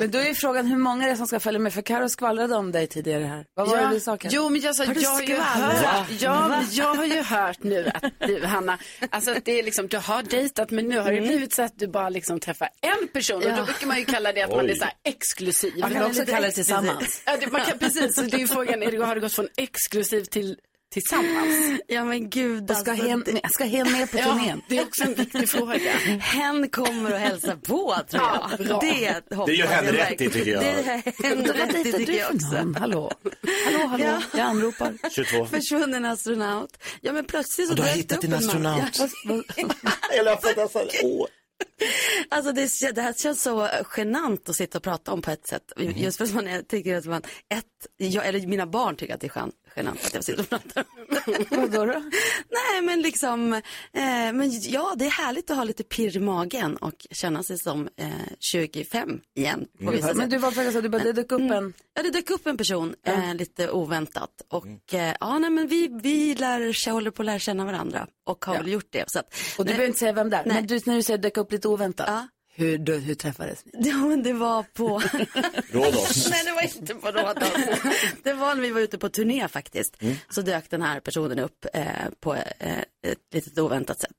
Men då är ju frågan hur många det är som ska följa med, för Karo skvallrade om dig tidigare här. Vad var Ja. det du sa Karo? Jo, men jag, sa, Har du jag, har ju skvallrat? hört, ja, Va? men jag har ju hört nu att du, Hanna, alltså att det är liksom, du har dejtat men nu har det Mm. blivit så att du bara liksom träffar en person och Ja. då brukar man ju kalla det att man Oj. är så här exklusiv. Man kan Ja, också lite kalla det exklusiv. tillsammans. Ja, det, man kan, precis, så det är ju frågan, är det, har det gått från exklusiv till tillsammans? Ja men gud. alltså. Och ska hen- ska hen med på turnén? det är också en viktig fråga. Hen kommer och hälsar på tror Ja, jag. bra. det, hoppas Det gör hen jag rätt i, verkligen. tycker jag. Det är hen Vad rätt i dejtar tycker du jag för också. någon? Hallå, hallå, hallå. Ja. jag anropar. 22. Försvunnen astronaut. Ja men plötsligt så Och du har dök det hittat upp din en man. astronaut. Ja. Eller jag fattar så här, åh. Alltså det, kän- det här känns så genant att sitta och prata om på ett sätt. Mhm. Just för att man är, tycker att man, ett, jag, eller mina barn tycker att det är gen- genant att jag sitter och pratar [LAUGHS] om Vadå då? Nej men liksom, eh, men ja det är härligt att ha lite pirr i magen och känna sig som eh, 25 igen. på Mm. vissa Men sätt. du var faktiskt så att du bara, det dök upp Mm. en. Ja, det dök upp en person eh, lite oväntat. Och Mm. eh, ja, nej, men vi, vi lär, kä- håller på att lära känna varandra och har väl gjort det. Så att, Och du nej. behöver inte säga [LAUGHS] vem det är. Nej. Men du, när du säger dök upp lite oväntat. Hur, då, hur träffades ni? Ja, men det var [LAUGHS] på... Råd oss. Nej, det var inte på Rådhus. Det var när vi var ute på turné faktiskt. Mm. Så dök den här personen upp eh, på eh, ett litet oväntat sätt.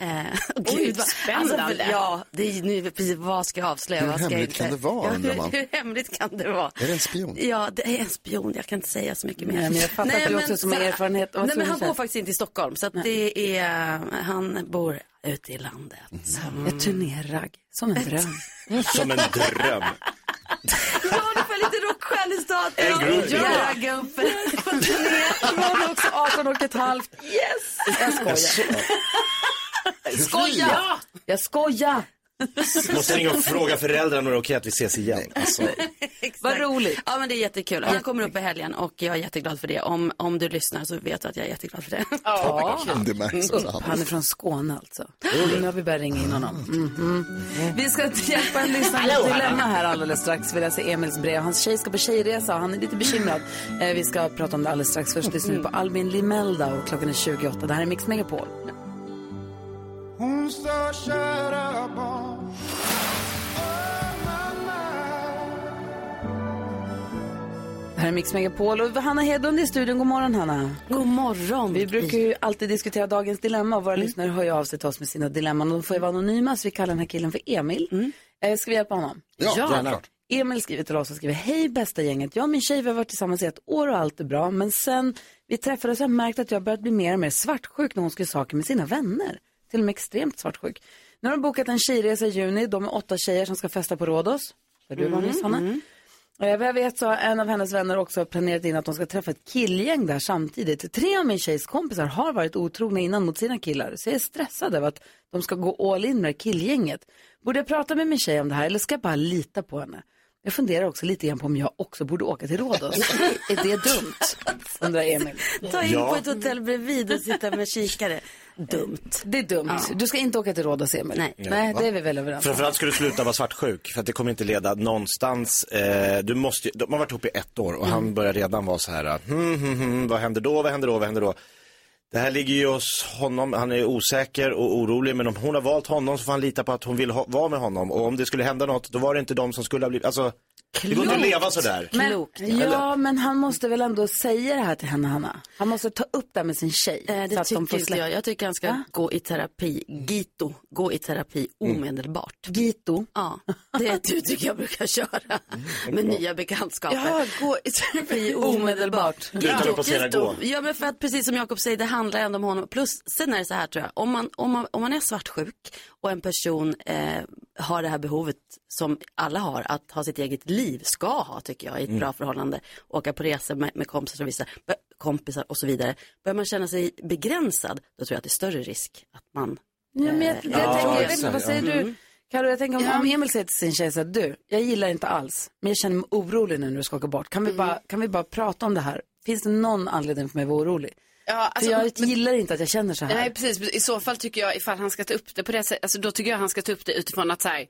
Eh, [LAUGHS] och Oj, vad- spännande. Alltså, för- ja, det är, nu, precis, vad ska jag avslöja? Hur vad ska jag hemligt inte- kan det vara, Ja, undrar man. hur, hur hemligt kan det vara? Är det en spion? Ja, det är en spion. Jag kan inte säga så mycket mer. Nej, men jag fattar att du också som har så- erfarenhet. Vad Nej, tror men du han själv? bor faktiskt inte i Stockholm. Så att det är, han bor ute [LAUGHS] i landet. Mm. Ett turnerragg. Som en dröm. [LAUGHS] Som en dröm. lite rockskäl i staten. En groupie. Ja, gubben. På Nu turné. var han också 18 och ett halvt. Yes! Jag skojar. Jag skojar! Jag skojar! Måste ringa och fråga föräldrarna och okej att vi ses igen. Alltså. Vad roligt. Ja, men det är jättekul. Han kommer upp i helgen och jag är jätteglad för det. Om, om du lyssnar så vet du att jag är jätteglad för det. Ja. Det märks att han- Mm. Han är från Skåne alltså. Nu har vi börjat ringa in honom. Mm. Mhm. Vi ska hjälpa en lyssnare med ett Hallå, dilemma hallå. här alldeles strax. Vi läser Emils brev. Hans tjej ska på tjejresa och han är lite bekymrad. Eh, Vi ska prata om det alldeles strax. Först lyssnar vi på Albin Limelda och klockan är 28. Det här är Mix Megapol. Hon sa kära barn Det här är Mix Megapol och Hanna Hedlund är i studion. God morgon Hanna. God morgon. Mm. Vi brukar ju alltid diskutera dagens dilemma och våra lyssnare hör ju av sig till oss med sina dilemman. De får ju vara anonyma så vi kallar den här killen för Emil. Mm. Eh, Ska vi hjälpa honom? Ja, gärna. Klart. Emil skriver till oss och skriver, hej bästa gänget. Jag och min tjej vi har varit tillsammans i ett år och allt är bra. Men sen vi träffades har jag märkt att jag börjat bli mer och mer svartsjuk när hon skulle saker med sina vänner. Till och med extremt svartsjuk. Nu har de bokat en tjejresa i juni. De är åtta tjejer som ska festa på Rhodos. Där du var Mm, nyss Hanna. mm. Eh, Vad jag vet så har en av hennes vänner också planerat in att de ska träffa ett killgäng där samtidigt. Tre av min tjejs kompisar har varit otrogna innan mot sina killar. Så jag är stressad över att de ska gå all in med det här killgänget. Borde jag prata med min tjej om det här eller ska jag bara lita på henne? Jag funderar också lite grann på om jag också borde åka till [LAUGHS] Rhodos. är det dumt? Undrar Emil. Ta in på ett hotell bredvid och sitta med kikare. Dumt. Det är dumt. Du ska inte åka till Rhodos, Emil. Nej, Nej det är vi väl överens om. Framförallt ska du sluta vara svartsjuk för att det kommer inte leda någonstans. Eh, du måste, ju- de har varit ihop i ett år och Mm. han börjar redan vara så här, hmm, hmm, hmm, vad händer då, vad händer då, vad händer då? Det här ligger ju hos honom, han är osäker och orolig men om hon har valt honom så får han lita på att hon vill ha, vara med honom och om det skulle hända något då var det inte de som skulle ha blivit, alltså det går inte att leva sådär. Men, Eller? Ja, men han måste väl ändå säga det här till henne, Hanna? Han måste ta upp det här med sin tjej. så Eh, det att de tycker får inte släppa. Ah. jag. Jag tycker han ska Va? gå i terapi. Gito. Gå i terapi Mm. omedelbart. Gito? Mm, Ja, det är ett uttryck jag brukar köra med nya bekantskaper. Ja, gå i [LAUGHS] terapi omedelbart. Utan att passera gå. Ja, men för att precis som Jakob säger, det handlar ändå om honom. Plus, sen är det så här tror jag, om man, om man, om man är svartsjuk och en person eh, har det här behovet som alla har, att ha sitt eget liv, ska ha tycker jag, i ett Mm. bra förhållande, åka på resor med, med kompisar och vissa bör- kompisar och så vidare. Börjar man känna sig begränsad, då tror jag att det är större risk att man... Ja, men jag, jag eh, tänker, jag vet, inte, vad säger du? Mm. Karo, jag tänker om, Ja. om Emil säger till sin tjej så här, du, jag gillar inte alls, men jag känner mig orolig nu när du ska åka bort. Kan vi, Mm. bara, kan vi bara prata om det här? Finns det någon anledning för mig att vara orolig? Ja, alltså, för jag gillar inte att jag känner så här. Nej, precis. I så fall tycker jag, ifall han ska ta upp det på det sättet, alltså, då tycker jag han ska ta upp det utifrån att så här,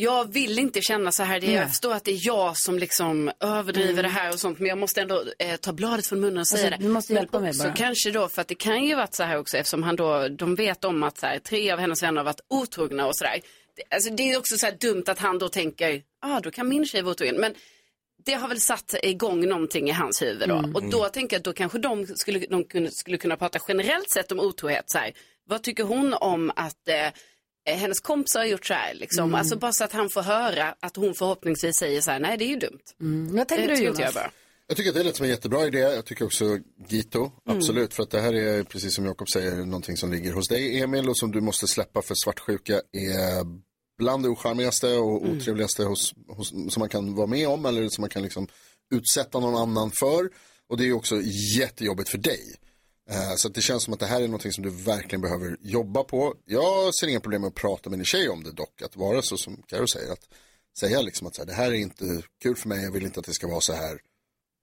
jag vill inte känna så här, det är, Nej. jag förstår att det är jag som liksom överdriver Mm. det här och sånt, men jag måste ändå eh, ta bladet från munnen och Alltså, säga det. du måste hjälpa men mig också bara. kanske då, för att det kan ju varit så här också, eftersom han då, de vet om att så här, tre av hennes vänner har varit otrogna och så där. Det, alltså, det är också så här dumt att han då tänker, ah, då kan min tjej vara otrogen. Men det har väl satt igång någonting i hans huvud då. Mm. Och då tänker jag att då kanske de skulle, de kunde, skulle kunna prata generellt sett om otrohet. Så här. Vad tycker hon om att eh, eh, hennes kompisar har gjort så här? Liksom? Mm. Alltså bara så att han får höra att hon förhoppningsvis säger så här, nej det är ju dumt. Mm. Vad tänker Det du tror inte Jonas? jag bara. Jag tycker att det lät som en jättebra idé. Jag tycker också Gito, absolut. För att det här är, precis som Jakob säger, någonting som ligger hos dig Emil och som du måste släppa för svartsjuka är bland det ocharmigaste och Mm. otrevligaste hos, hos, som man kan vara med om eller som man kan liksom utsätta någon annan för. Och det är ju också jättejobbigt för dig. Eh, Så att det känns som att det här är någonting som du verkligen behöver jobba på. Jag ser inga problem med att prata med din tjej om det dock, att vara så som Karo säger. Att säga liksom att så här, det här är inte kul för mig, jag vill inte att det ska vara så här.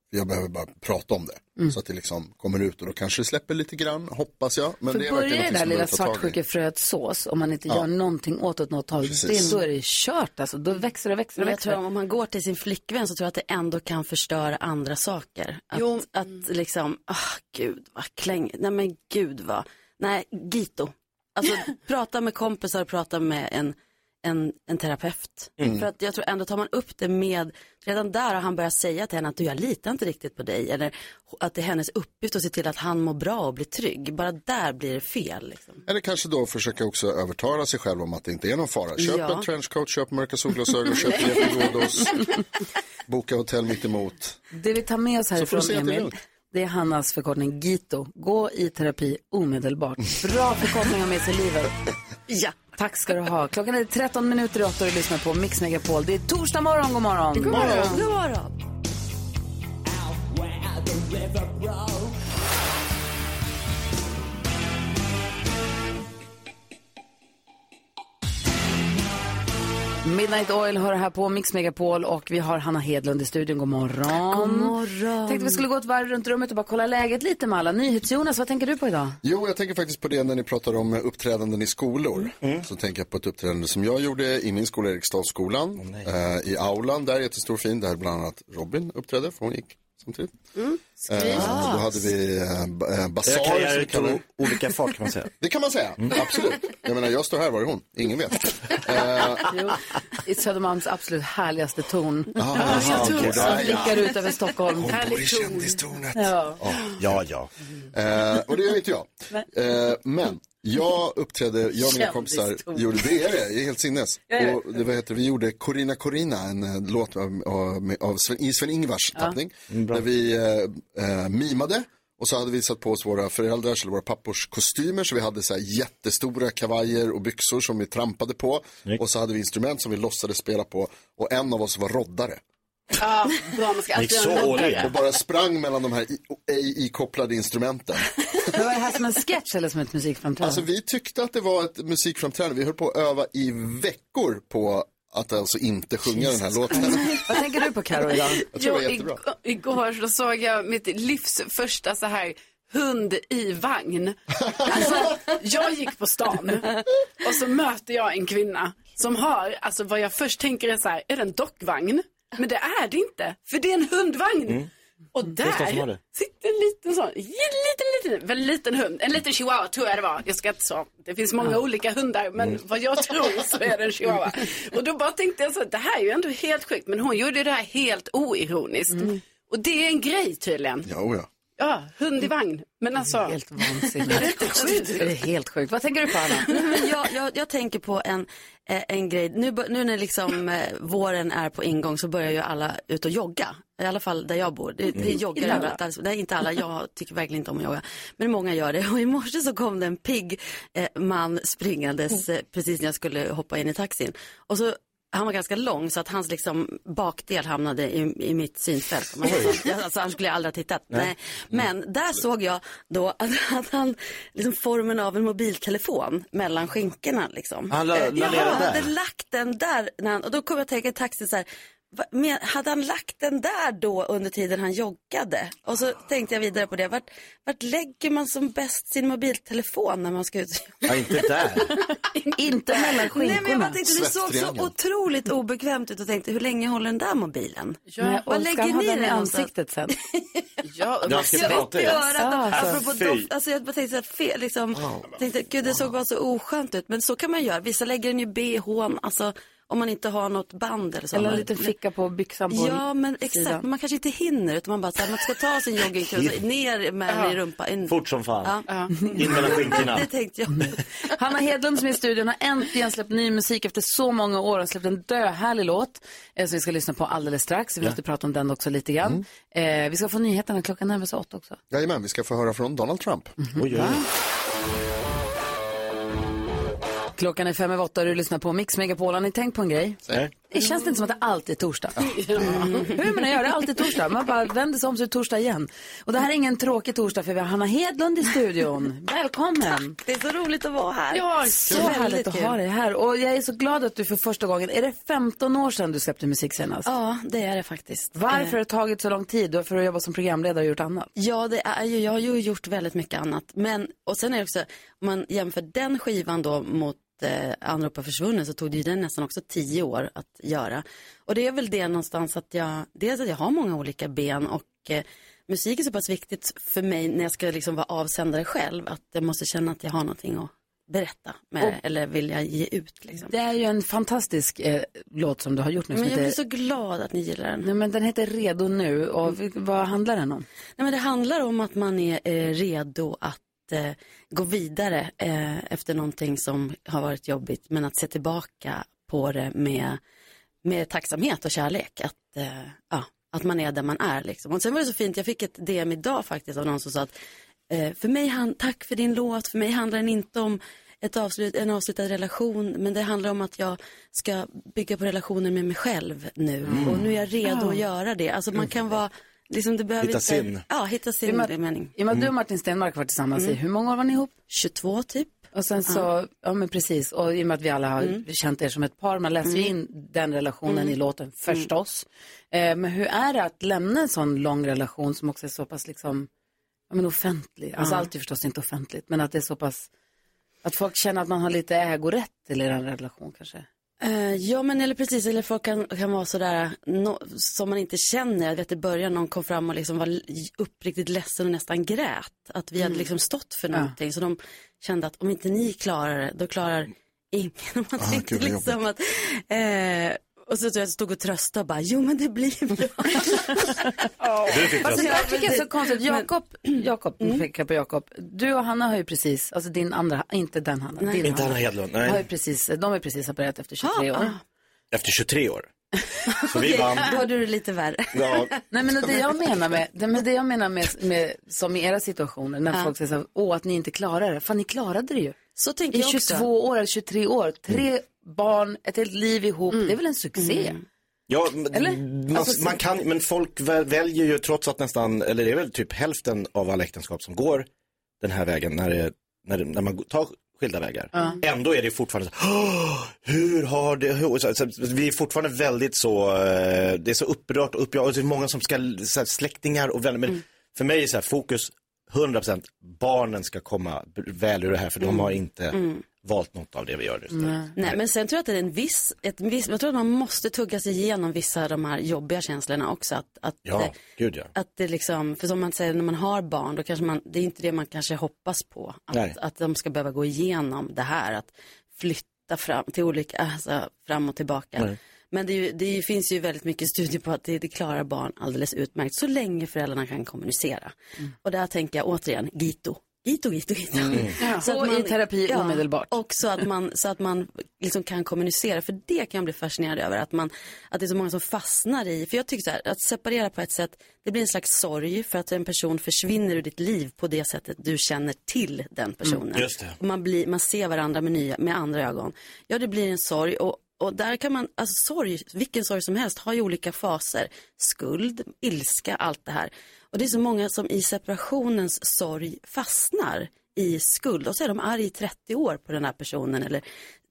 Jag behöver bara prata om det. Mm. Så att det liksom kommer ut och då kanske det släpper lite grann, hoppas jag. Men För det är börjar verkligen det någonting där som lilla behöver ta tag i. svartsjukefröet sås, om man inte Ja. gör någonting åt åt något håll, det, Precis. då är det kört alltså. Då växer det, växer det, Men jag växer tror det. om man går till sin flickvän så tror jag att det ändå kan förstöra andra saker. Att, att liksom, ah gud vad kläng, nej men gud vad, nej gito. Alltså prata med kompisar, prata med en, en, en terapeut. Mm. För att jag tror ändå tar man upp det med, redan där har han börjat säga till henne att du jag litar inte riktigt på dig. Eller att det är hennes uppgift att se till att han mår bra och blir trygg. Bara där blir det fel. Liksom. Eller kanske då försöka också övertala sig själv om att det inte är någon fara. Köp Ja. en trenchcoat, köp mörka solglasögon, [LAUGHS] köp Jeppe Gaudos, boka hotell mitt emot. det vi tar med oss Så får du härifrån, se att det är Emil, lugnt. det är Hannas förkortning GITO. Gå i terapi omedelbart. Bra förkortning att ha med sig i livet. Ja. Tack ska du ha. Klockan är 13 minuter i åtta och du lyssnar på Mix Megapol. Det är torsdag morgon, god morgon. God morgon. God morgon. Midnight Oil hör här på Mix Megapol och vi har Hanna Hedlund i studion. God morgon. God morgon. Tänkte vi skulle gå ett varv runt rummet och bara kolla läget lite med alla. NyhetsJonas, vad tänker du på idag? Jo, jag tänker faktiskt på det när ni pratar om eh, uppträdanden i skolor. Mm. Så tänker jag på ett uppträdande som jag gjorde i min skola, Eriksdalsskolan. eh, I aulan där, jättestor fin, där bland annat Robin uppträdde, för hon gick samtidigt. Eh, då hade vi eh, ba- eh, basar. Jag karriär som vi kallar det. tog olika fart kan man säga. Mm. Det kan man säga, absolut. Jag menar, jag står här, var är hon? [LAUGHS] Ingen vet. Eh, [LAUGHS] Jo, I Södermalms absolut härligaste torn. [LAUGHS] Ja, alltså, jag Som tror det. Ja, ja. blickar ut över Stockholm. Hon bor i kändistornet. Ja, ja. ja. Eh, och det gör inte jag. Eh, men jag uppträdde, jag och mina kompisar Kändistorn. gjorde, det är det, jag är helt sinnes. Ja, jag vet. Och det, vad heter, det, vi gjorde Corina Corina, en eh, låt av, av, av Sven, i Sven-Ingvars Ja. tappning. där vi eh, eh, mimade. Och så hade vi satt på oss våra föräldrars eller våra pappors kostymer så vi hade så här jättestora kavajer och byxor som vi trampade på. Och så hade vi instrument som vi låtsades spela på och en av oss var roddare. Ja, bra, man ska Alltså, alltid göra en roddare. Och bara sprang mellan de här i- ej ikopplade instrumenten. Men var det här som en sketch eller som ett musikframträdande? Alltså vi tyckte att det var ett musikframträdande. Vi höll på att öva i veckor på att alltså inte sjunga den här låten. Vad tänker du på Karo idag? [LAUGHS] Jag tror det var Jo, jättebra. ig- Igår så såg jag mitt livs första så här hund i vagn. Alltså, jag gick på stan och så möter jag en kvinna som har, alltså vad jag först tänker är så här, är det en dockvagn? Men det är det inte, för det är en hundvagn. Och Det är Stockholm som har det. där sitter en liten sån, liten, liten, väldigt liten hund. En liten chihuahua tror jag det var. Jag ska inte så. Det finns många Ja. olika hundar, men Mm. vad jag tror så är det en chihuahua. Och då bara tänkte jag så här, det här är ju ändå helt sjukt. Men hon gjorde det här helt oironiskt. Mm. Och det är en grej tydligen. Jo, ja. Ja, hund i vagn. Men alltså. Helt vansinnigt. är inte sjukt. Alltså, Det är helt sjukt. Vad tänker du på Anna? [LAUGHS] Nej, men jag, jag, jag tänker på en, eh, en grej. Nu, bör- nu när liksom eh, våren är på ingång så börjar ju alla ut och jogga. I alla fall där jag bor. Det, det Mm. joggar Inte alla. överallt. Alltså, nej, inte alla. Jag tycker verkligen inte om att jogga. Men många gör det. [LAUGHS] Och i morse så kom det en pigg eh, man springandes eh, precis när jag skulle hoppa in i taxin. Och så han var ganska lång så att hans liksom bakdel hamnade i, i mitt synfält. om man säger så. Jag- Alltså, annars skulle jag aldrig ha tittat. Nej. Nej. Men där såg jag då att, att han, liksom formen av en mobiltelefon mellan skinkorna liksom. Han la- Eh, la ja, ner den han hade där? lagt den där när han, och då kom jag att tänka i taxin så här, "Va, men, hade han lagt den där då under tiden han joggade? Och så tänkte jag vidare på det, vart, vart lägger man som bäst sin mobiltelefon när man ska ut? Ja, inte där. Inte mellan Nej, men jag skinkorna. bara tänkte, det såg så Svetttriangeln. otroligt obekvämt ut och tänkte, hur länge håller den där mobilen? Nej, Var och ska han lägger ha ni den i den någonstans? ansiktet sen? [LAUGHS] Ja, Jag man ska vet prata i inte göra att Ah, de- Alltså, apropå fy. doft, alltså jag bara tänkte så här, fel, liksom, tänkte, gud det såg bara så oskönt ut, men så kan man göra, vissa lägger den ju i bhn, alltså om man inte har något band eller så. Eller en Men- liten ficka på byxan på Ja, men exakt, men man kanske inte hinner, utan man bara så här, man ska ta sin joggingkula, så ner med den i Ja. rumpan. In. Fort som fan. Ja. In mellan [LAUGHS] skinkorna. Det tänkte jag. Hanna Hedlund som är i studion har äntligen släppt ny musik efter så många år. Har släppt en döhärlig låt eh, som vi ska lyssna på alldeles strax. Vi Ja. måste prata om den också lite grann. Eh, vi ska få nyheterna, klockan närmar sig åtta också. Jajamän, vi ska få höra från Donald Trump. Oj, oj. Klockan är fem över åtta och du lyssnar på Mix Megapol. Har ni tänkt på en grej? Nej. Det känns inte som att det alltid är [LAUGHS] torsdag. Mm. Hur man än gör, det är alltid torsdag. Man bara vänder sig om så är det torsdag igen. Och det här är ingen tråkig torsdag för vi har Hanna Hedlund i [LAUGHS] studion. Välkommen! Det är så roligt att vara här. Ja, så Väldigt härligt att kul. ha dig här. Och jag är så glad att du för första gången, är det 15 år sedan du släppte musik senast? Ja, det är det faktiskt. Varför Eh, har det tagit så lång tid? Du har för att jobba som programledare och gjort annat? Ja, det är ju, jag har ju gjort väldigt mycket annat. Men, och sen är det också, om man jämför den skivan då mot eh, Anropa försvunnen så tog det ju den nästan också tio år att göra. Och det är väl det någonstans att jag, dels att jag har många olika ben och eh, musik är så pass viktigt för mig när jag ska liksom vara avsändare själv att jag måste känna att jag har någonting att berätta med Och- eller vilja ge ut. Liksom. Det är ju en fantastisk eh, låt som du har gjort nu. Men som jag blir heter- så glad att ni gillar den. Mm. Nej, men den heter Redo nu och vi- vad handlar den om? Nej, men det handlar om att man är eh, redo att eh, gå vidare eh, efter någonting som har varit jobbigt, men att se tillbaka på det med, med tacksamhet och kärlek. Att, eh, ja, att man är där man är. Liksom. Och sen var det så fint, jag fick ett DM idag faktiskt av någon som sa att eh, för mig, han, tack för din låt, för mig handlar den inte om ett avslut, en avslutad relation, men det handlar om att jag ska bygga på relationen med mig själv nu. Mm. Och nu är jag redo Ja. Mm. att göra det. Alltså man kan vara, liksom det behöver Hitta inte... sin. Ja, hitta sin I och med- inre mening. I och med att du och Martin Stenmark var tillsammans i, Mm. hur många år var ni ihop? 22 typ. Och sen så, ja, Ja. men precis, och i och med att vi alla har Mm. känt er som ett par, man läser ju Mm. in den relationen Mm. i låten förstås. Eh, men hur är det att lämna en sån lång relation som också är så pass liksom, ja men offentlig, alltså Ja. allt är förstås inte offentligt, men att det är så pass, att folk känner att man har lite ägorätt till er relation kanske? Eh, ja, men eller precis, eller folk kan, kan vara sådär no, som man inte känner. Jag vet i början någon kom fram och liksom var l- uppriktigt ledsen och nästan grät. Att vi hade Mm. liksom stått för Ja. någonting. Så de kände att om inte ni klarar det, då klarar ingen. [LAUGHS] Och Man tänkte Ah, gud, vad liksom att, eh, och så tror jag stod och tröstade och bara, jo men det blir bra. Du fick alltså, det tröst. där tycker jag är så konstigt. Jakob, Jakob, Mm. nu pekar jag på Jakob. Du och Hanna har ju precis, alltså din andra, inte den Hanna, Nej. din Inte Hanna Hedlund, nej. Har ju precis, de har ju precis separerat efter 23 år. Efter 23 år. Så vi vann. Ah, Då hade du det lite värre. [LAUGHS] Ja. Nej men och det jag menar med, det, men det jag menar med, med som i era situationer, när Ja. folk säger så här, åh att ni inte klarar det. Fan ni klarade det ju. Ah. Så tänker I jag också. 22 år eller 23 år, tre Mm. barn, ett helt liv ihop, Mm. det är väl en succé? Ja, men- Eller? Man, Alltså, man kan, men folk vä- väljer ju trots att nästan, eller det är väl typ hälften av alla äktenskap som går den här vägen när, det, när, det, när man tar skilda vägar. Ja. Ändå är det fortfarande så, "Åh, hur har det, hur? Så, så, vi är fortfarande väldigt så, eh, det är så upprört och uppjagt, och det är många som ska, så här, släktingar och vänner, men för mig är så här, fokus 100% barnen ska komma b- väl ur det här för de har inte Mm. valt något av det vi gör just nu. Nej. men sen tror jag att det är en viss, ett viss, jag tror att man måste tugga sig igenom vissa av de här jobbiga känslorna också. Att, att, Ja, gud ja. att det liksom, för som man säger när man har barn, då kanske man, det är inte det man kanske hoppas på. Nej. Att, att de ska behöva gå igenom det här, att flytta fram till olika, alltså fram och tillbaka. Nej. Men det, är ju, det är ju- finns ju väldigt mycket studier på att det, det klarar barn alldeles utmärkt, så länge föräldrarna kan kommunicera. Mm. Och där tänker jag återigen, Gito. Gito, Gito, Gito. Mm. Ja, och i terapi omedelbart. Och så att man, så att man liksom kan kommunicera, för det kan jag bli fascinerad över, att, man, att det är så många som fastnar i, för jag tycker så här, att separera på ett sätt, det blir en slags sorg för att en person försvinner ur ditt liv på det sättet du känner till den personen. Mm, just det. Och man, blir, man ser varandra med, nya, med andra ögon. Ja, det blir en sorg och, och där kan man, alltså sorg, vilken sorg som helst har ju olika faser. Skuld, ilska, allt det här. Och det är så många som i separationens sorg fastnar i skuld och så är de arg i 30 år på den här personen eller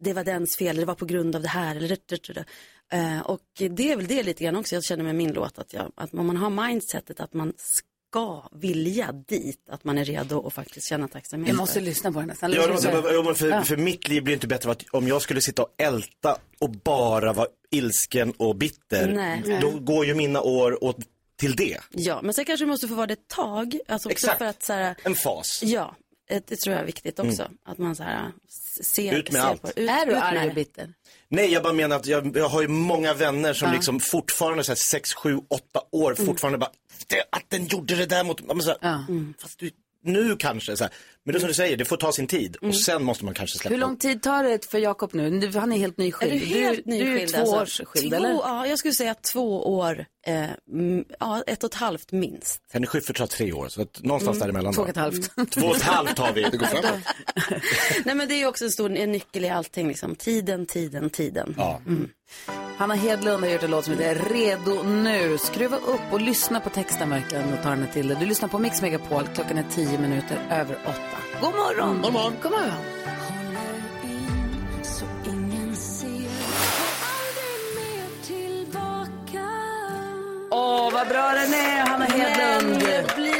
det var dens fel, eller det var på grund av det här eller det, det, det. Eh, Och det är väl det lite grann också jag känner med min låt att, jag, att om man har mindsetet att man ska vilja dit, att man är redo och faktiskt känna tacksamhet. Jag måste lyssna på den nästan. Ja, det måste, jag bara- ja, men Ja. för, för mitt liv blir inte bättre av att om jag skulle sitta och älta och bara vara ilsken och bitter. Nej. Då Nej. går ju mina år åt, till det. Ja, men sen kanske du måste få vara det ett tag. Alltså också Exakt. för att så här, En fas. ja, eh, det tror jag är viktigt också. Mm. Att man så här s- ser, Ut med ser allt. på det. Ut- Är du ut med arg och det. bitter? Nej, jag bara menar att jag, jag har ju många vänner som Ja. liksom fortfarande så här 6, 7, 8 år fortfarande bara, "Det- att den gjorde det där mot mig. Men Så här, Fast du, nu kanske, så här. men det är som du säger, det får ta sin tid och sen måste man kanske släppa. Hur lång tid tar det för Jakob nu? Du- Han är helt nyskild. Är du helt nyskild? Du är två alltså? års skild, två, eller? Ja, jag skulle säga två år, eh, mm, ja, ett och ett halvt minst. Sen är Schyffert har tre år, så att någonstans Mm. däremellan. Två och då. ett halvt. Mm. Två och ett halvt [LAUGHS] har vi. Det går framåt. Mm. Nej, men det är ju också en stor en nyckel i allting, liksom. Tiden, tiden, tiden. Ja. Mm. Hanna Hedlund har gjort en låt som heter Redo nu. Skruva upp och lyssna på texten verkligen och ta den här till dig. Du lyssnar på Mix Megapol. Klockan är tio minuter över åtta. God morgon! God morgon! God morgon. Åh, vad bra den är, Hanna Hedlund! Men jag blir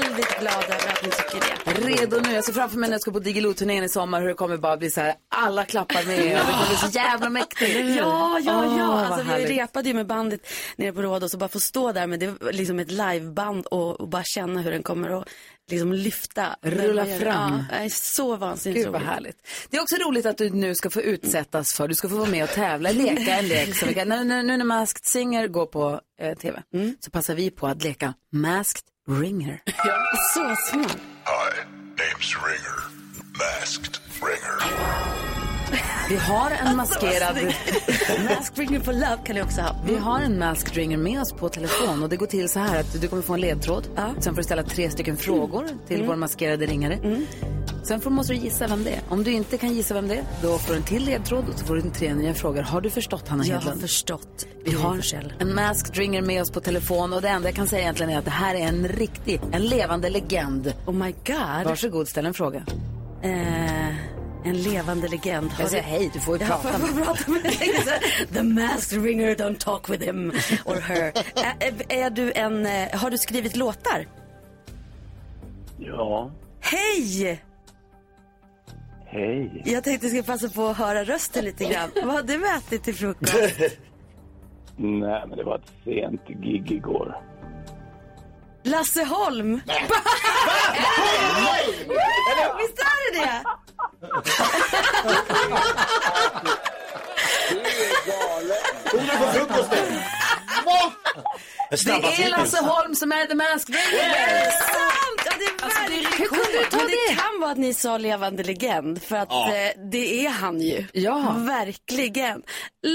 väldigt glad över att ni tycker det. Redo nu. Jag ser framför mig när jag ska på Diggiloo-turnén i sommar hur det kommer bara bli så här, alla klappar [LAUGHS] med och det kommer bli så jävla mäktigt. Ja, ja, ja. Åh, vad alltså, vi härligt. repade ju med bandet nere på Rhodos och bara få stå där med det, var liksom ett liveband och, och bara känna hur den kommer att liksom lyfta. Rulla Men- fram. Ja, det är så vansinnigt Gud vad roligt. härligt. Det är också roligt att du nu ska få utsättas för, du ska få vara med och tävla, leka en lek. Som vi kan, nu, nu, nu när Masked Singer går på eh, tv så passar vi på att leka Masked Ringer. Så smart. Hi, name's Ringer. Masked Ringer. Vi har en maskerad... Mask Ringer for Love kan du också ha. Vi har en Masked Ringer med oss på telefon och det går till så här att du kommer få en ledtråd. Sen får du ställa tre stycken frågor till Mm. vår maskerade ringare. Sen får, måste du gissa vem det är. Om du inte kan gissa vem det är, då får du en till ledtråd och så får du tre nya frågor. Har du förstått Hanna Jag Hedlund? har förstått. Vi har en masked ringer med oss på telefon och det enda jag kan säga egentligen är att det här är en riktig, en levande legend. Oh my god. Varsågod, ställ en fråga. Eh, en levande legend. Har Jag säger du- hej, typ. [LAUGHS] du får ju Ja, prata får jag med- prata [LAUGHS] med dig. The masked ringer, don't talk with him or her. Ä- ä- är du en, eh, har du skrivit låtar? Ja, Hej! hej. Jag tänkte jag ska passa på att höra rösten lite grann. Vad har du ätit till frukost? [LAUGHS] Nej, men det var ett sent gig igår. Lasse Holm! [LAUGHS] Visst är det det? Det är Lasse Holm som är The Masked Ringer! Är det sant? Ja, Alltså, det Alltså, är verkligen Hur kunde du ta Men det? det kan vara att ni sa levande legend, för att Ja. eh, det är han ju. Ja. Verkligen.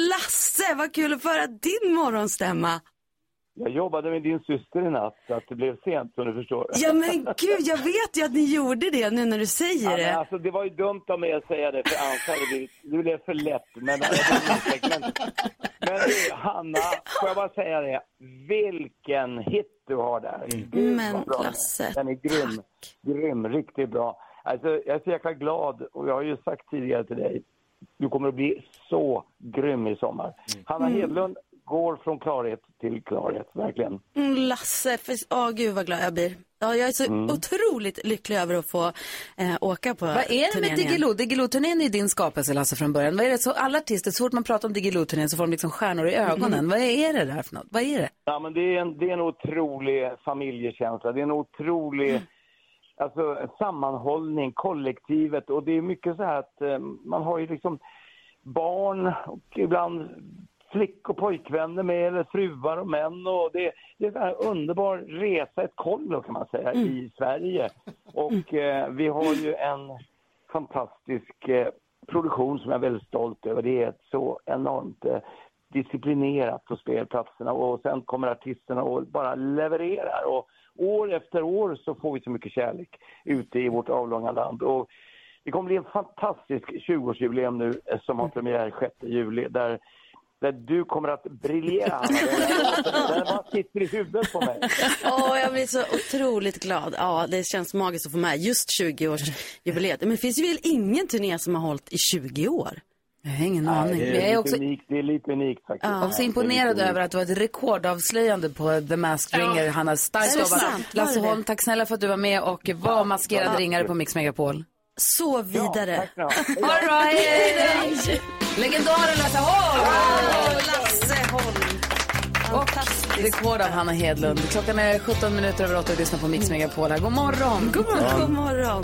Lasse, vad kul att få höra din morgonstämma. Jag jobbade med din syster i natt, så att det blev sent som du förstår. Ja men gud, jag vet ju att ni gjorde det nu när du Ja, säger men det. alltså, det var ju dumt av mig att säga det, för annars hade det blivit, det blev för lätt. [LAUGHS] Men, men, men du, Hanna, får jag bara säga det? Vilken hit du har där. Gud, Mm. Men, vad bra. Lasse, Den är grym. Grym, riktigt bra. Alltså, jag är så jäkla glad och jag har ju sagt tidigare till dig, du kommer att bli så grym i sommar. Hanna Mm. Hedlund går från klarhet till klarhet, verkligen. Mm, Lasse, för, åh gud vad glad jag blir. Ja, jag är så Mm. otroligt lycklig över att få eh, åka på Vad är det turnén med igen. Diggiloo? Diggiloo-turnén är ju din skapelse Lasse från början. Vad är det så, alla artister, så fort man pratar om Diggiloo-turnén så får de liksom stjärnor i ögonen. Mm. Vad är det där för något? Vad är det? Ja, men det är en, det är en otrolig familjekänsla. Det är en otrolig alltså, sammanhållning, kollektivet. Och det är mycket så här att eh, man har ju liksom barn och ibland flick och pojkvänner med, eller fruar och män. Och det, det är en sån här underbar resa, ett kollo kan man säga, i Sverige. Och eh, vi har ju en fantastisk eh, produktion som jag är väldigt stolt över. Det är ett så enormt eh, disciplinerat på spelplatserna och sen kommer artisterna och bara levererar. Och år efter år så får vi så mycket kärlek ute i vårt avlånga land. Och det kommer bli en fantastisk 20-årsjubileum nu eh, som har premiär 6 juli där, där du kommer att briljera. Hanna. Den bara sitter i huvudet på mig. Åh, jag blir så otroligt glad. Ja, det känns magiskt att få med just 20-årsjubileet. Men det finns ju väl ingen turné som har hållit i 20 år? Jag har ingen aning. Det Men jag är, är lite också unikt, det är lite unikt faktiskt. Jag var så Det är lite imponerad unikt. över att det var ett rekordavslöjande på The Masked Ringer, Hanna. Starkt Är det jobbat. sant? Var Lasse det det? Holm, tack snälla för att du var med och var maskerad Ja. ringare på Mix Megapol. Så vidare. Ja, [LAUGHS] All right. Legendaren Lasse Holm! Lasse Holm. Och rekord av Hanna Hedlund. Klockan är 17 minuter över 8 och du lyssnar på Mix Megapol. här. God morgon! God morgon. God morgon.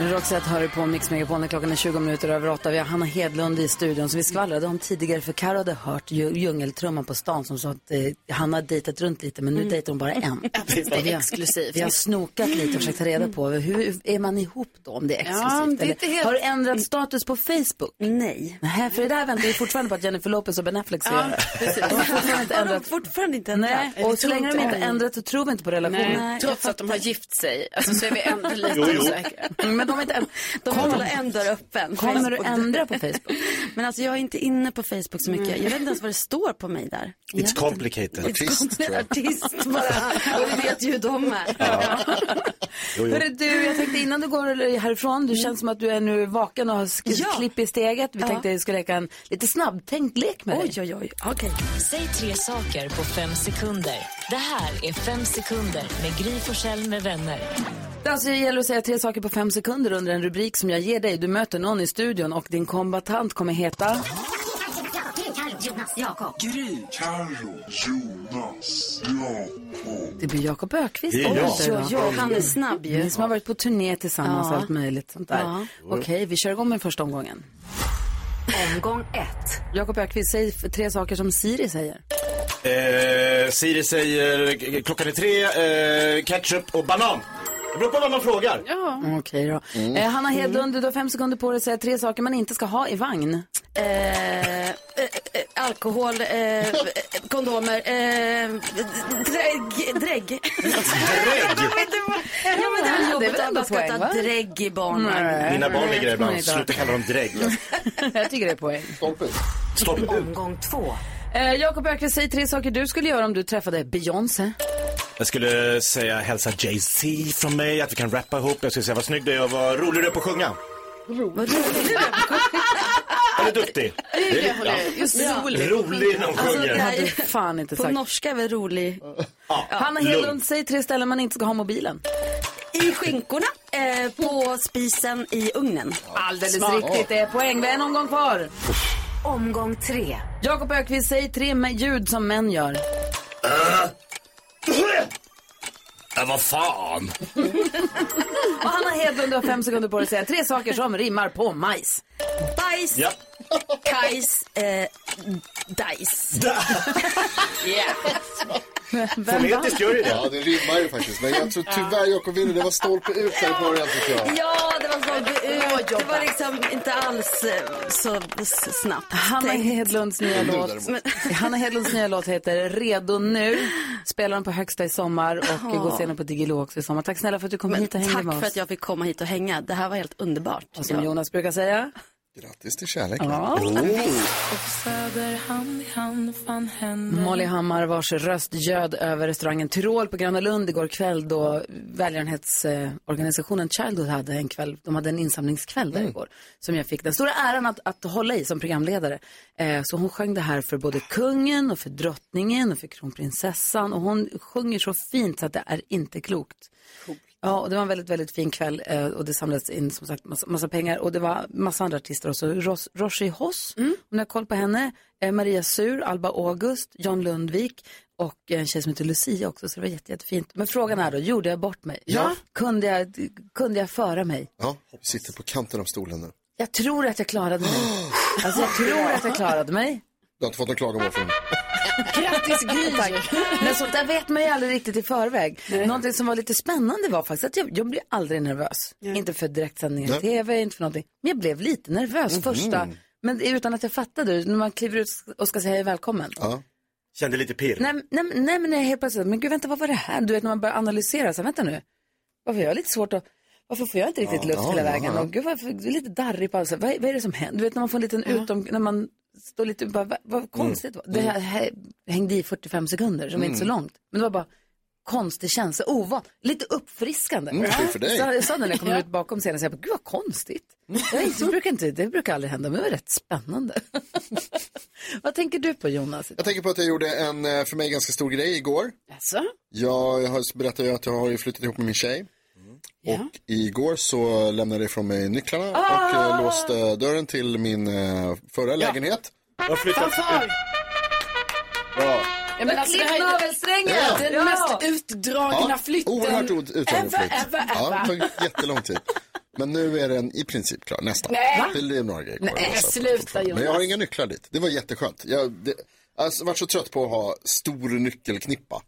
Men Roxette hör du på Mix Megapol när klockan är 20 minuter över 8. Vi har Hanna Hedlund i studion som vi skvallrade om tidigare för Karo hade hört ju- djungeltrumman på stan som sa att eh, Hanna hade dejtat runt lite men nu Mm. dejtar hon bara en. precis. Det är Och vi har- exklusivt. Vi har snokat lite och försökt ta reda på hur är man ihop då om det är exklusivt. Ja, det är inte eller? helt- Har du ändrat status på Facebook? Nej. Nej, för det där väntar vi fortfarande på att Jennifer Lopez och Ben Affleck ska Ja, göra. precis. De har fortfarande inte Har de ändrat. fortfarande inte Nej, ändrat? och så länge de inte Oj. ändrat så tror vi inte på relationen. Nej, trots att de har gift sig. Alltså, så är vi ändå lite Jo, jo. osäkra. Men de är inte de Kommer- håller en dörr öppen. Kommer du ändra på [LAUGHS] Facebook? Men alltså jag är inte inne på Facebook så mycket. Jag vet inte ens vad det står på mig där. Jag vet It's inte. complicated. Artist bara. Och vi vet ju hur de är. Jo, jo. Hörru, du, jag tänkte innan du går härifrån, du känns som att du är nu vaken och har sk- klipp i steget. Vi Ja. tänkte att vi skulle leka en lite snabbtänkt lek med dig. Oj, oj, oj. Okej. Säg tre saker på fem sekunder. Det här är Fem sekunder med Gry Forssell med vänner. Det alltså gäller att säga tre saker på fem sekunder under en rubrik som jag ger dig. Du möter någon i studion och din kombatant kommer heta... Jonas, Jakob. Gry. Carro. Jonas. Jakob. Det blir Jakob Ökvist. Det är jag. Ja, ja, han är snabb ju. Ni som har varit på turné tillsammans och Ja. allt möjligt sånt där. Ja. Okej, vi kör igång med första omgången. Omgång ett. Jakob Ökvist, säg f- tre saker som Siri säger. Eh, Siri säger eh, klockan är tre, eh, ketchup och banan. Det beror på vad man frågar. Ja. Okej då. Mm. Eh, Hanna Hedlund, du har fem sekunder på dig att säga tre saker man inte ska ha i vagn. Eh, eh, eh, alkohol, eh, eh, kondomer, eh, drägg. drägg. [LAUGHS] Ja, men det är Ja, det är jobbigt väl att ändå man ska poäng, va? ta drägg i barnen. Nej. Mina barn ligger där Nej, ibland. då. Sluta kalla dem drägg. [LAUGHS] Jag tycker det är poäng. Stopp. Omgång två. Eh, Jakob Öqvist, säg tre saker du skulle göra om du träffade Beyoncé. Jag skulle säga hälsa Jay-Z från mig, att vi kan rappa ihop. Jag skulle säga vad snygg du är och vad rolig du är på att sjunga. Vad [LAUGHS] roligt. Eller duktig. det håller jag. Just rolig. Rolig när hon Alltså, det sjunger. här- Hade fan inte På sagt. norska är väl rolig. Hanna lugn. Hedlund, säg tre ställen man inte ska ha mobilen. I skinkorna, eh, på spisen, i ugnen. Alldeles riktigt, det är poäng. Vi har en omgång kvar. Omgång tre. Jakob Öqvist, säg tre med ljud som män gör. Ja, vad fan. Och Hanna Hedlund, du har fem sekunder på dig att säga tre saker som rimmar på majs. Bajs, Ja. kajs, eh, dajs. Fonetiskt gör ju det. Ja, det rimmar ju faktiskt. Men jag tror tyvärr Jakob vinner. Det var stolpe ut här i början tycker jag. Ja, det var så Det var liksom inte alls eh, så s- snabbt. Hanna Hedlunds nya Du låt. däremot. Hanna Hedlunds nya låt heter Redo nu. Spelar den på Högsta i sommar och Ja. går senare på Diggiloo också i sommar. Tack snälla för att du kom hit och hängde Tack med för oss. att jag fick komma hit och hänga. Det här var helt underbart. Och som Jonas brukar säga. Grattis till kärleken. Ja. Mm. Oh. Molly Hammar vars röst ljöd över restaurangen Tyrol på Gröna Lund igår kväll då välgörenhetsorganisationen Childhood hade en kväll, de hade en insamlingskväll där igår som jag fick den stora äran att, att hålla i som programledare. Eh, så hon sjöng det här för både kungen och för drottningen och för kronprinsessan och hon sjunger så fint så att det är inte klokt. Ja, och det var en väldigt, väldigt fin kväll eh, och det samlades in som sagt massa, massa pengar och det var massa andra artister också. Ros, Roshi Hoss, om ni har koll på henne, eh, Maria Sur, Alba August, John Lundvik och en tjej som heter Lucia också, så det var jätte, jättefint. Men frågan är då, gjorde jag bort mig? Ja. Kunde jag, kunde jag föra mig? Ja, du sitter på kanten av stolen nu. Jag tror att jag klarade mig. Alltså jag tror att jag klarade mig. Du har inte fått någon klagomål från mig. Grattis Gry! Men sånt där vet man ju aldrig riktigt i förväg. Någonting som var lite spännande var faktiskt att jag, jag blev aldrig nervös. Inte för direktsändningar i Nej. tv, inte för någonting. Men jag blev lite nervös första, men utan att jag fattade. det. När man kliver ut och ska säga hej välkommen. Kände lite pirr. Nej, nej, nej, men när jag helt plötsligt, men gud vänta vad var det här? Du vet när man börjar analysera, så här, vänta nu. Varför har jag lite svårt att, varför får jag inte riktigt Ja, luft ja, hela ja, vägen? ja. Och gud varför, du är lite darrig på halsen. Vad, vad är det som händer? Du vet när man får en liten utom, när man står lite, bara, vad, vad konstigt. Mm. Mm. Det här, här hängde i 45 sekunder, som är inte så Mm. långt. Men det var bara konstig känsla, ovan, lite uppfriskande. Mm, kul för dig. Så jag sa när jag kom Ja. ut bakom scenen, så jag bara, gud vad konstigt. Det, är- det, brukar inte, det brukar aldrig hända, men det var rätt spännande. [LAUGHS] vad tänker du på Jonas? Jag tänker på att jag gjorde en eh, för mig ganska stor grej igår. Alltså? Jag har- berättade ju att jag har ju flyttat ihop med min tjej. Och igår så lämnade jag ifrån mig nycklarna och Ah! eh, låste dörren till min eh, förra lägenhet. Jag har flyttat Fanfar! Ja. Ja, men alltså, det här är- Knavelsträngen! Den Ja. mest utdragna Ja, flytten. Oerhört ut- utdragen ever, flytt. ever, Ja, ever. det tog jättelång tid. Men nu är den i princip klar, nästan. Nej. Det är några grejer kvar. Nej, Så att- sluta, Men jag har Jonas. inga nycklar dit. Det var jätteskönt. Jag det, alltså, varit så trött på att ha stor nyckelknippa.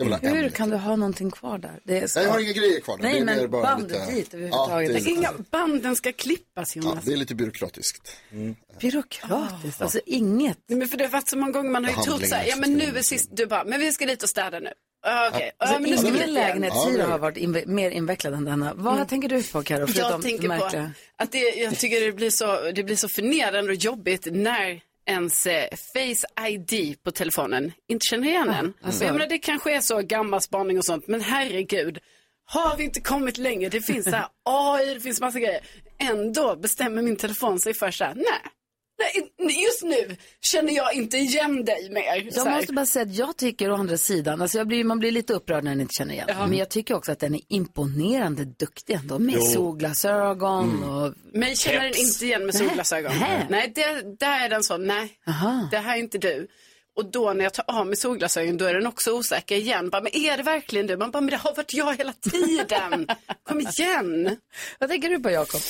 Jag vill ha en. Hur kan du ha någonting kvar där? Det är Nej, jag har inga grejer kvar där. Nej, Det är mer men bara bandet lite- dit överhuvudtaget. Ja, det är lite- Inga- Banden ska klippas, Ja, Jonas. det är lite byråkratiskt. Mm. Byråkratiskt, Ja. alltså inget. Nej, men för det har varit så många gånger man har ju trott så här, ja men nu är sist, du bara, men vi ska dit och städa nu. Ja, Okej, ja, Alltså, men nu ska vi ingen dit igen. lägenhetshyror har varit inve- mer invecklad än denna. Vad tänker du Mm. på, Carro? förutom Jag det tänker på märkliga? att det, jag tycker det blir, så, det blir så förnedrande och jobbigt när ens eh, face ID på telefonen inte känner igen en. alltså. Jag menar, det kanske är så gammal spaning och sånt, men herregud. Har vi inte kommit längre? Det finns så [LAUGHS] här AI, det finns massa grejer. Ändå bestämmer min telefon sig för så här, nej. nej, in- Just nu känner jag inte igen dig mer. Så Jag här. måste bara säga att jag tycker å andra sidan, alltså jag blir, man blir lite upprörd när den inte känner igen. Men jag tycker också att den är imponerande duktig ändå med Jo. solglasögon Mm. och... Mig känner den inte igen med Nej. solglasögon. Nej. Nej, det, där är den så, nej, det här är inte du. Och då när jag tar av mig solglasögonen då är den också osäker igen. Bara, men är det verkligen du? Man bara, men det har varit jag hela [LAUGHS] tiden. Kom igen. Vad tänker du på Jakob?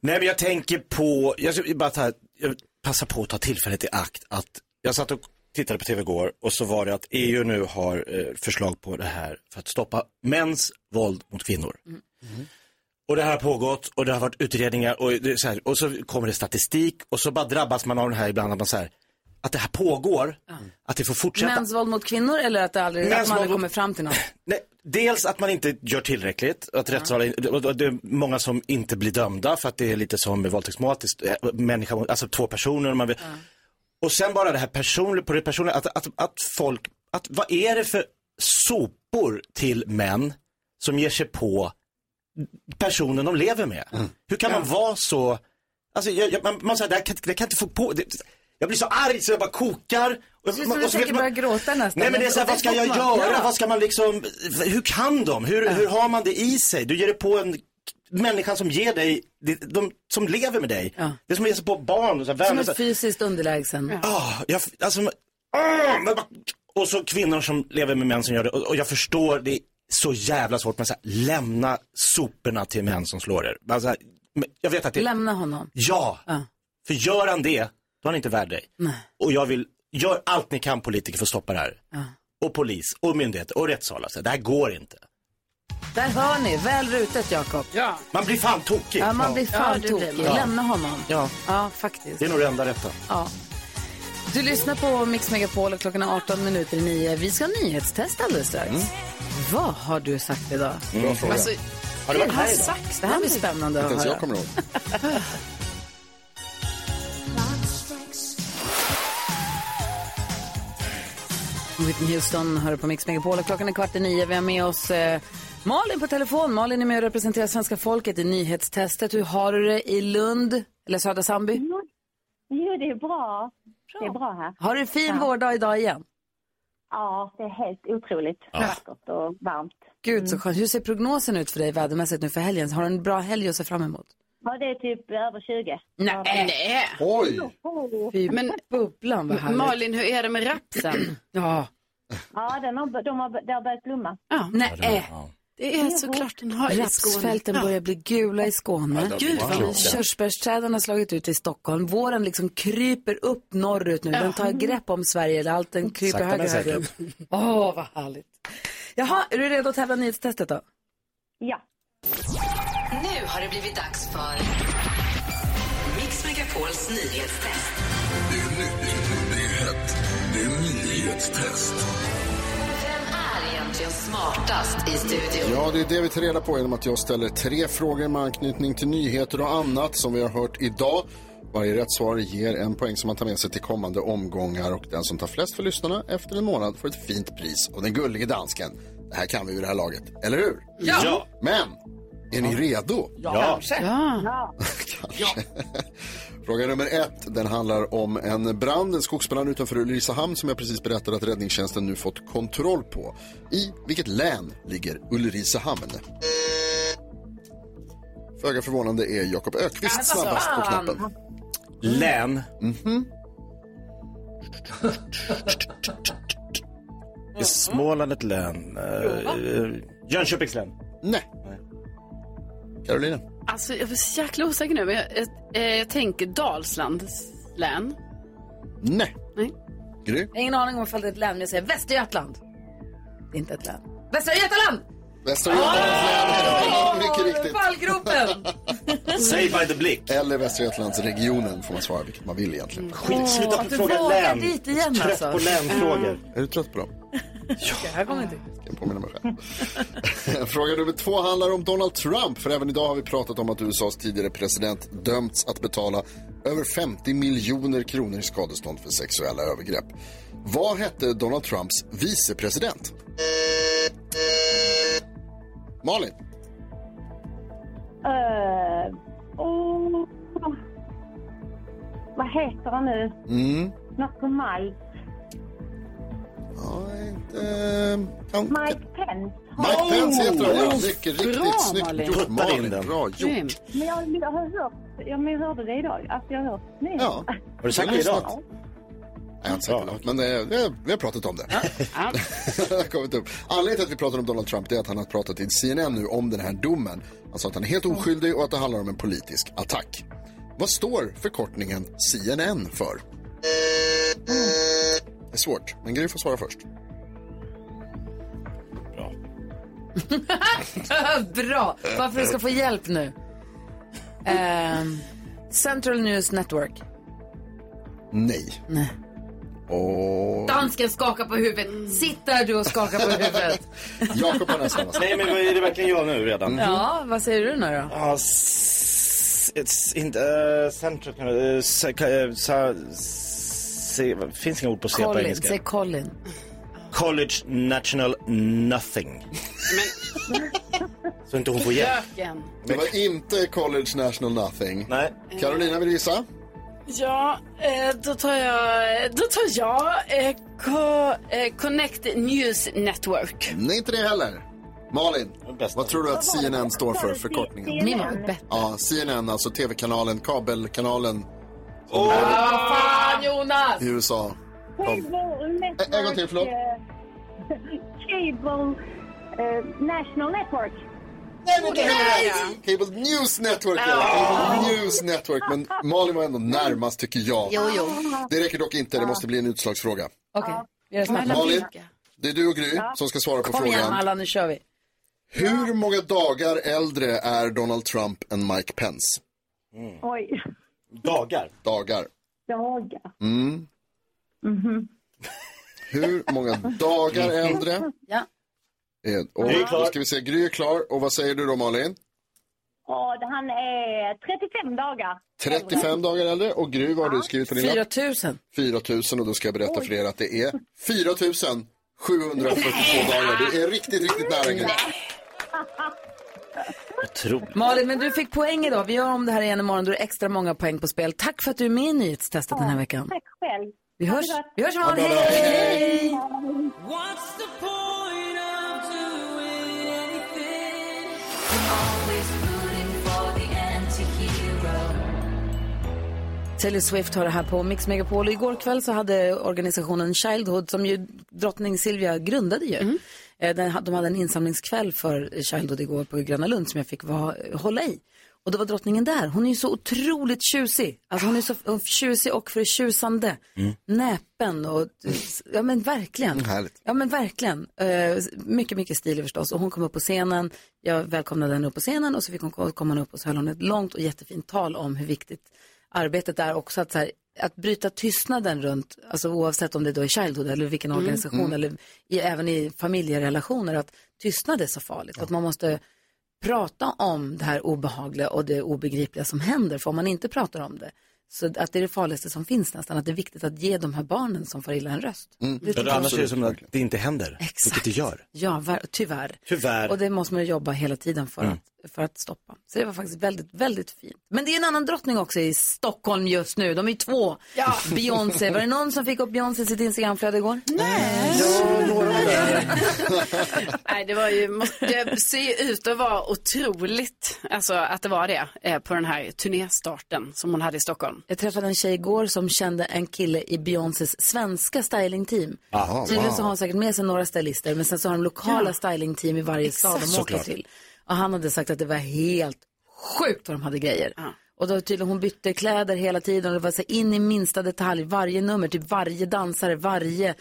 Nej men jag tänker på, jag ska bara ta, jag passar på att ta tillfället i akt att jag satt och tittade på tv igår och så var det att EU nu har eh, förslag på det här för att stoppa mäns våld mot kvinnor. Och det här har pågått och det har varit utredningar och, det, är så, här, och så kommer det statistik och så bara drabbas man av den här ibland att man så här, att det här pågår, att det får fortsätta. Mäns våld mot kvinnor eller att, det aldrig, att Mäns man aldrig våld kommer fram till något? Nej, dels att man inte gör tillräckligt, att rättssalen, och- och det är många som inte blir dömda för att det är lite som med våldtäktsmål, att det är människa, mot- alltså två personer. Man vill. Och sen bara det här personliga, på det personliga, att, att, att folk, att, vad är det för sopor till män som ger sig på personen de lever med? Hur kan man vara så, alltså jag, jag, man, man säger, det, här kan, det kan inte få på, det, jag blir så arg så jag bara kokar. Och, Du man- och så du vet tänker man- börja gråta nästan. Nej men det är så här, vad ska jag göra? Vad ska man liksom, hur kan de? Hur, hur har man det i sig? Du ger det på en människan som ger dig, de, de som lever med dig. Det är som att ge sig på barn. Och så här, Som vänner, är så här. fysiskt underlägsen. Ah, jag, alltså, ah, men bara- och så kvinnor som lever med män som gör det. Och, och jag förstår, det är så jävla svårt. Men så här, lämna soporna till män som slår er. Alltså, men jag vet att det, Lämna honom. Ja, för gör han det, då är han inte värd dig. Och jag vill, gör allt ni kan politiker för att stoppa det här. Och polis, och myndigheter, och rättssalar. Så Det här går inte. Där hör ni, väl rutet Jakob. Ja. Man blir fan tokig. Ja, man blir fan Ja, det blir tokig. man. Lämna honom. Ja. Ja, faktiskt. Det är nog det enda rätta. Ja. Du lyssnar på Mix Megapol och klockan är 18 minuter i 9. Vi ska nyhetstesta alldeles strax. Mm. Vad har du sagt idag? Bra fråga. Alltså, Har du varit här har idag? sagt, det här blir spännande Inte att ens höra. jag kommer ihåg. Whitney Houston hör på Mix Megapol och klockan är kvart i nio. Vi har med oss eh, Malin på telefon. Malin är med och representerar svenska folket i nyhetstestet. Hur har du det i Lund eller Södra Sandby? Mm. Jo, det är bra. Det är bra här. Har du en fin vårdag idag igen? Ja, det är helt otroligt vackert och varmt. Gud Mm. så skönt. Hur ser prognosen ut för dig vädermässigt nu för helgen? Har du en bra helg att se fram emot? Ja, det är typ över 20. Nej. Nej. Oj. Fy Men- bubblan vad härligt. Malin, hur är det med rapsen? Ja. Ja, den har, de har, det har börjat blomma. Ja. Nej. Det är såklart den har i Skåne. Rapsfälten börjar bli gula i Skåne. Ja, Gud, vad klokt. Körsbärsträden har slagit ut i Stockholm. Våren liksom kryper upp norrut nu. Den tar grepp om Sverige. Eller allt den kryper Sakta men högre och högre upp. säkert. Åh, vad härligt. Jaha, är du redo att tävla i nyhetstestet då? Ja. Nu har det blivit dags för Mix Megapols nyhetstest. Nyhetstest. Vem är egentligen smartast i studion? Ja, det är det vi tar reda på genom att jag ställer tre frågor med anknytning till nyheter och annat som vi har hört idag. Varje rätt svar ger en poäng som man tar med sig till kommande omgångar och den som tar flest för lyssnarna efter en månad får ett fint pris och den gullige dansken. Det här kan vi vid det här laget, eller hur? Ja. Ja. Men, är ni redo? Ja. Fråga nummer ett, den handlar om en brand, en skogsbrand utanför Ulricehamn som jag precis berättade att räddningstjänsten nu fått kontroll på. I vilket län ligger Ulricehamn? Föga förvånande är Jakob Ökvist Alltså, snabbast på fan. knappen. Län. Mhm. Är Småland ett län? Eh, eh, Jönköpings län. Nej. Carolina. Alltså, jag är så jäkla osäker nu. Men jag, jag, eh, jag tänker Dalslands län. Nej. Nej. Gry? Jag har ingen aning om ifall det är [LAUGHS] ett län, men jag säger Västergötland. Det är inte ett län. Västra Götaland! [LAUGHS] Västra Götalands län. Mycket riktigt. Fallgropen! Säg by the blick. Eller Västra Götalandsregionen får man svara vilket man vill egentligen. Skit, sluta Åh, att du fråga vågar län. dit igen Jag är trött alltså. på länfrågor. Är du trött på dem? Det här kommer inte. Jag påminner mig själv. [LAUGHS] Fråga nummer två handlar om Donald Trump. För även idag har vi pratat om att USAs tidigare president dömts att betala över 50 miljoner kronor i skadestånd för sexuella övergrepp. Vad hette Donald Trumps vicepresident? Malin? Eh, åh. Vad heter han nu? Mm. Något på Maj. Ja, inte... Kan... Mike Pence. Mike Pence heter han, ja. Mycket riktigt Bra, snyggt Malin. gjort. Putta in Malin, den. bra gjort. Men jag, jag har hört, jag, men jag hörde det idag. Alltså jag har hört det. Ja. Har du sagt det idag? Nej, jag har inte sagt det, men eh, vi har- vi har pratat om det. [LAUGHS] Det har kommit upp. Anledningen till att vi pratar om Donald Trump det är att han har pratat till CNN nu om den här domen. Han sa att han är helt oskyldig och att det handlar om en politisk attack. Vad står förkortningen CNN för? Mm. Det är svårt, men Gry får svara först. Bra! Varför du ska få hjälp nu. Ehm, Central News Network. Nej. Nej. Och... Dansken skakar på huvudet. Sitter du och skakar på huvudet? [LAUGHS] Jakob har nästan Nej, men Mm. vad är det verkligen jag nu redan? Ja, vad säger du nu då? Ja, s- it's inte... eh, central... eh, se- ka- eh, sa- se- vad- Finns inga ord på C på Colin. Säg engelska. Colin. College National Nothing. [LAUGHS] Så inte hon får hjälp. Löken. Det var inte College National Nothing. Nej. Carolina vill gissa. Ja, eh, då tar jag, då tar jag eh, co, eh, Connect News Network. Nej, inte det heller. Malin, vad tror du att CNN står för, förkortningen? Ni var bättre. Ja, CNN, alltså tv-kanalen, kabelkanalen. Åh, Fan Jonas! I USA. Alltså. Network, en gång till, förlåt. eh, [LAUGHS] Cable eh, National Network. Cable News Network, ja. Cable News Network. Men Malin var ändå närmast, tycker jag. Jo, jo. Det räcker dock inte, det måste bli en utslagsfråga. Okej, vi gör det snabbt. Malin, det är du och Gry som ska svara på Kom igen frågan. alla, nu kör vi. Hur många dagar äldre är Donald Trump än Mike Pence? Oj, [LAUGHS] Dagar. Dagar. dagar. Mm. Mhm. Hur många dagar äldre? Ja. är- Och Gry är klar. då ska vi se, Gry är klar. Och vad säger du då Malin? Och han är 35 dagar. 35 dagar äldre. Och Gry, vad har du skrivit på din lapp? 4000. 4000 och då ska jag berätta för er att det är 4742 dagar. Det är riktigt, riktigt nära Gry. Otroligt. Malin, men du fick poäng idag. Vi gör om det här igen imorgon. Då är det extra många poäng på spel. Tack för att du är med i nyhetstestet den här veckan. Tack själv. Vi hörs, vi hörs imorgon. Ha det bra. Hej! What's the point of doing anything? Taylor Swift har det här på Mix Megapol. Och igår kväll så hade organisationen Childhood, som ju drottning Silvia grundade ju. eh, Den, ha- de hade en insamlingskväll för Childhood igår på Gröna Lund som jag fick vara, hålla i. Och då var drottningen där. Hon är ju så otroligt tjusig. Alltså hon är så hon är tjusig och förtjusande. Mm. Näpen och, ja men verkligen. Mm, Härligt. Ja men verkligen. Eh, mycket, mycket stilig förstås. Och hon kom upp på scenen. Jag välkomnade henne upp på scenen och så fick hon ko- komma upp och så höll hon ett långt och jättefint tal om hur viktigt arbetet är också att, så här, att bryta tystnaden runt, alltså oavsett om det då är Childhood eller vilken Mm. organisation Mm. eller i, även i familjerelationer, att tystnad är så farligt. Att man måste prata om det här obehagliga och det obegripliga som händer. För om man inte pratar om det, så att det är det farligaste som finns nästan. Att det är viktigt att ge de här barnen som får illa en röst. Mm. Det För tycker annars jag. är det som att det inte händer, vilket det gör. Ja, ver- tyvärr. Tyvärr. Och det måste man ju jobba hela tiden för, Mm. att, för att stoppa. Så det var faktiskt väldigt, väldigt fint. Men det är en annan drottning också i Stockholm just nu. De är ju två. Ja. Beyoncé. Var det någon som fick upp Beyoncé i sitt Instagramflöde igår? Mm. Nej. Nej, det var ju, måste, det ser ju ut att vara otroligt, alltså att det var det, eh, på den här turnéstarten som hon hade i Stockholm. Jag träffade en tjej igår som kände en kille i Beyoncés svenska stylingteam. Aha, Tydligen så wow. har han säkert med sig några stylister, men sen så har de lokala Ja. stylingteam i varje stad Exakt. de åker Såklart. till. Och han hade sagt att det var helt sjukt vad de hade grejer. Och då tydligen hon bytte kläder hela tiden och det var så här in i minsta detalj, varje nummer, typ varje dansare, varje,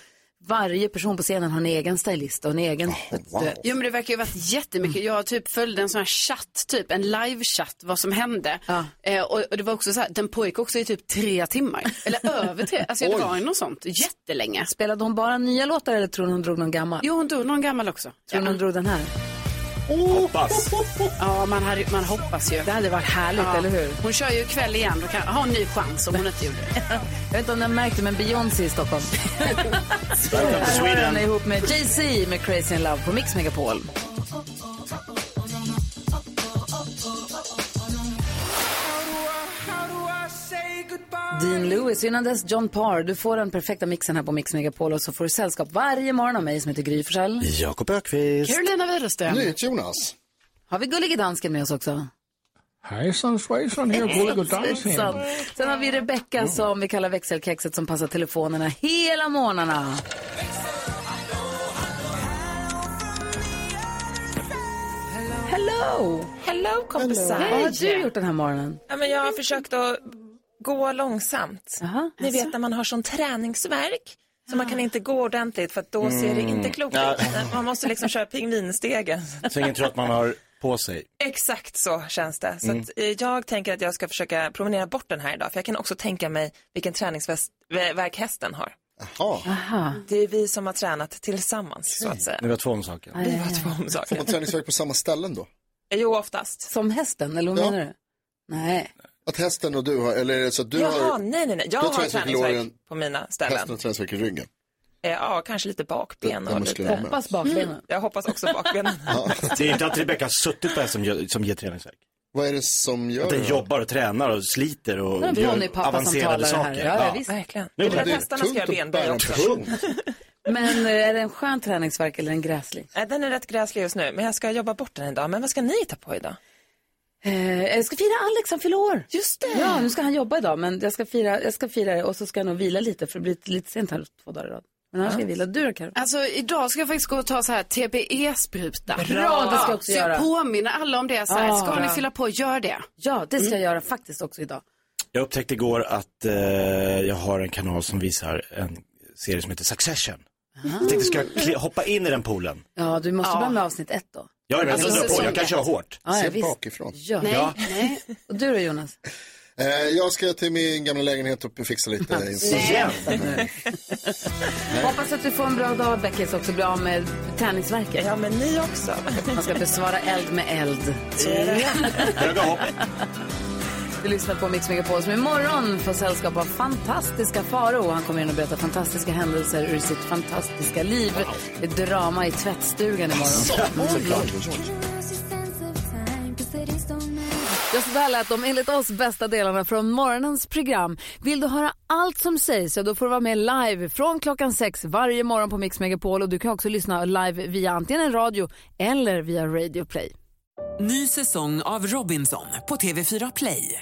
varje person på scenen har en egen stylist och en egen... eh, Jo men det verkar ju ha varit Mm. jättemycket. Jag typ följde en sån här chatt, typ en livechatt, vad som hände. Eh, och, och det var också så här, den pågick också i typ tre timmar. Eller över tre, alltså det Oj. var ju något sånt. Jättelänge. Spelade hon bara nya låtar eller tror ni hon drog någon gammal? Jo hon drog någon gammal också. Tror ni hon drog den här? Hoppas. Ja, man, hade, man hoppas ju. Det hade varit härligt, eller hur? Hon kör ju ikväll igen. Då kan, har en ny chans om hon inte gjorde det. [LAUGHS] Jag vet inte om ni har märkt det, men Beyoncé i Stockholm. Welcome to Här har Sweden. hon ihop med Jay-Z med Crazy in Love på Mix Megapol. Dean Lewis, innan dess John Parr. Du får den perfekta mixen här på Mix Megapol och så får du sällskap varje morgon av mig som heter Gry Forssell. Jakob Ökvist. Carolina Widerström. Jonas. Har vi Gullige Dansken med oss också? Hejsan svejsan, här är Gullige Dansken. Svensson. Sen har vi Rebecka som vi kallar växelkexet som passar telefonerna hela morgnarna. Hello! Hello kompisar. Vad har du gjort den här morgonen? Ja, men jag har försökt att gå långsamt. Ni vet när man har sån träningsvärk. Så man kan inte gå ordentligt för att då ser det Mm. inte klokt Ja. ut. Man måste liksom köra pingvinstegen. [LAUGHS] Så ingen tror att man har på sig. Exakt så känns det. Så Mm. att, eh, jag tänker att jag ska försöka promenera bort den här idag. För jag kan också tänka mig vilken träningsvärk hästen har. Det är vi som har tränat tillsammans så att säga. Ni var två om saken. Vi var två om saken. Får man träningsvärk på samma ställen då? Jo, oftast. Som hästen, eller vad Ja. menar du? Nej. Att hästen och du har, eller är det så att du Jaha, har... nej, nej, nej. Jag du har i träningsvärk låren, på mina ställen. Hästen har träningsvärk i ryggen. Eh, ja, kanske lite bakben. Där och musklerna lite... Mm. möts. Hoppas bakbenen. Jag hoppas också bakbenen. Det är inte att Rebecka har suttit på det som, gör- som ger träningsvärk. Vad är det som gör Att den det? jobbar och tränar och sliter och Men gör pappa som avancerade talar här. saker. Ja, ja, visst. Verkligen. Nu Det är kommer väl att hästarna ska göra Tungt och benböj bära också. tungt. Men eh, är det en skön träningsvärk eller en gräslig? Eh, den är rätt gräslig just nu, men jag ska jobba bort den idag. Men vad ska ni hitta på idag? Eh, jag ska fira Alex, han fyller år. Just det. Ja, nu ska han jobba idag, men jag ska fira, jag ska fira det och så ska jag nog vila lite för det blir lite sent här två dagar i rad. Men annars ska jag vila. Du då, Karo? Alltså idag ska jag faktiskt gå och ta så här E TBE-spruta. Bra, det ska jag så också göra. Ah. jag påminner alla om det. Så här, Ja. ska ni Bra. fylla på, gör det. Ja, det ska jag göra faktiskt också idag. Jag upptäckte igår att eh, jag har en kanal som visar en serie som heter Succession. Jag tänkte, ska jag kli- hoppa in i den poolen? Ja, du måste Ja. börja med avsnitt ett då. Ja, men jag Alltså, drar på, säsong jag kan ett. köra hårt. Ja, ja, Se visst. bakifrån. Ja. Nej, Ja. nej. Och du då, Jonas? Eh, jag ska till min gamla lägenhet och fixa lite. Igen? Hoppas att du får en bra dag, Beckis, också blir av med tärningsverket. Ja, men ni också. Man ska besvara eld med eld. Så är Du lyssnar på Mix Megapol som imorgon får sällskap av fantastiska Faro. Han kommer in och berättar fantastiska händelser ur sitt fantastiska liv. Det är drama i tvättstugan imorgon. Ja, så där lät de enligt oss bästa delarna från morgonens program. Vill du höra allt som sägs så då får du vara med live från klockan sex varje morgon på Mix Megapol. Och du kan också lyssna live via antingen en radio eller via Radio Play. [LAUGHS] Ny säsong av Robinson på TV4 Play.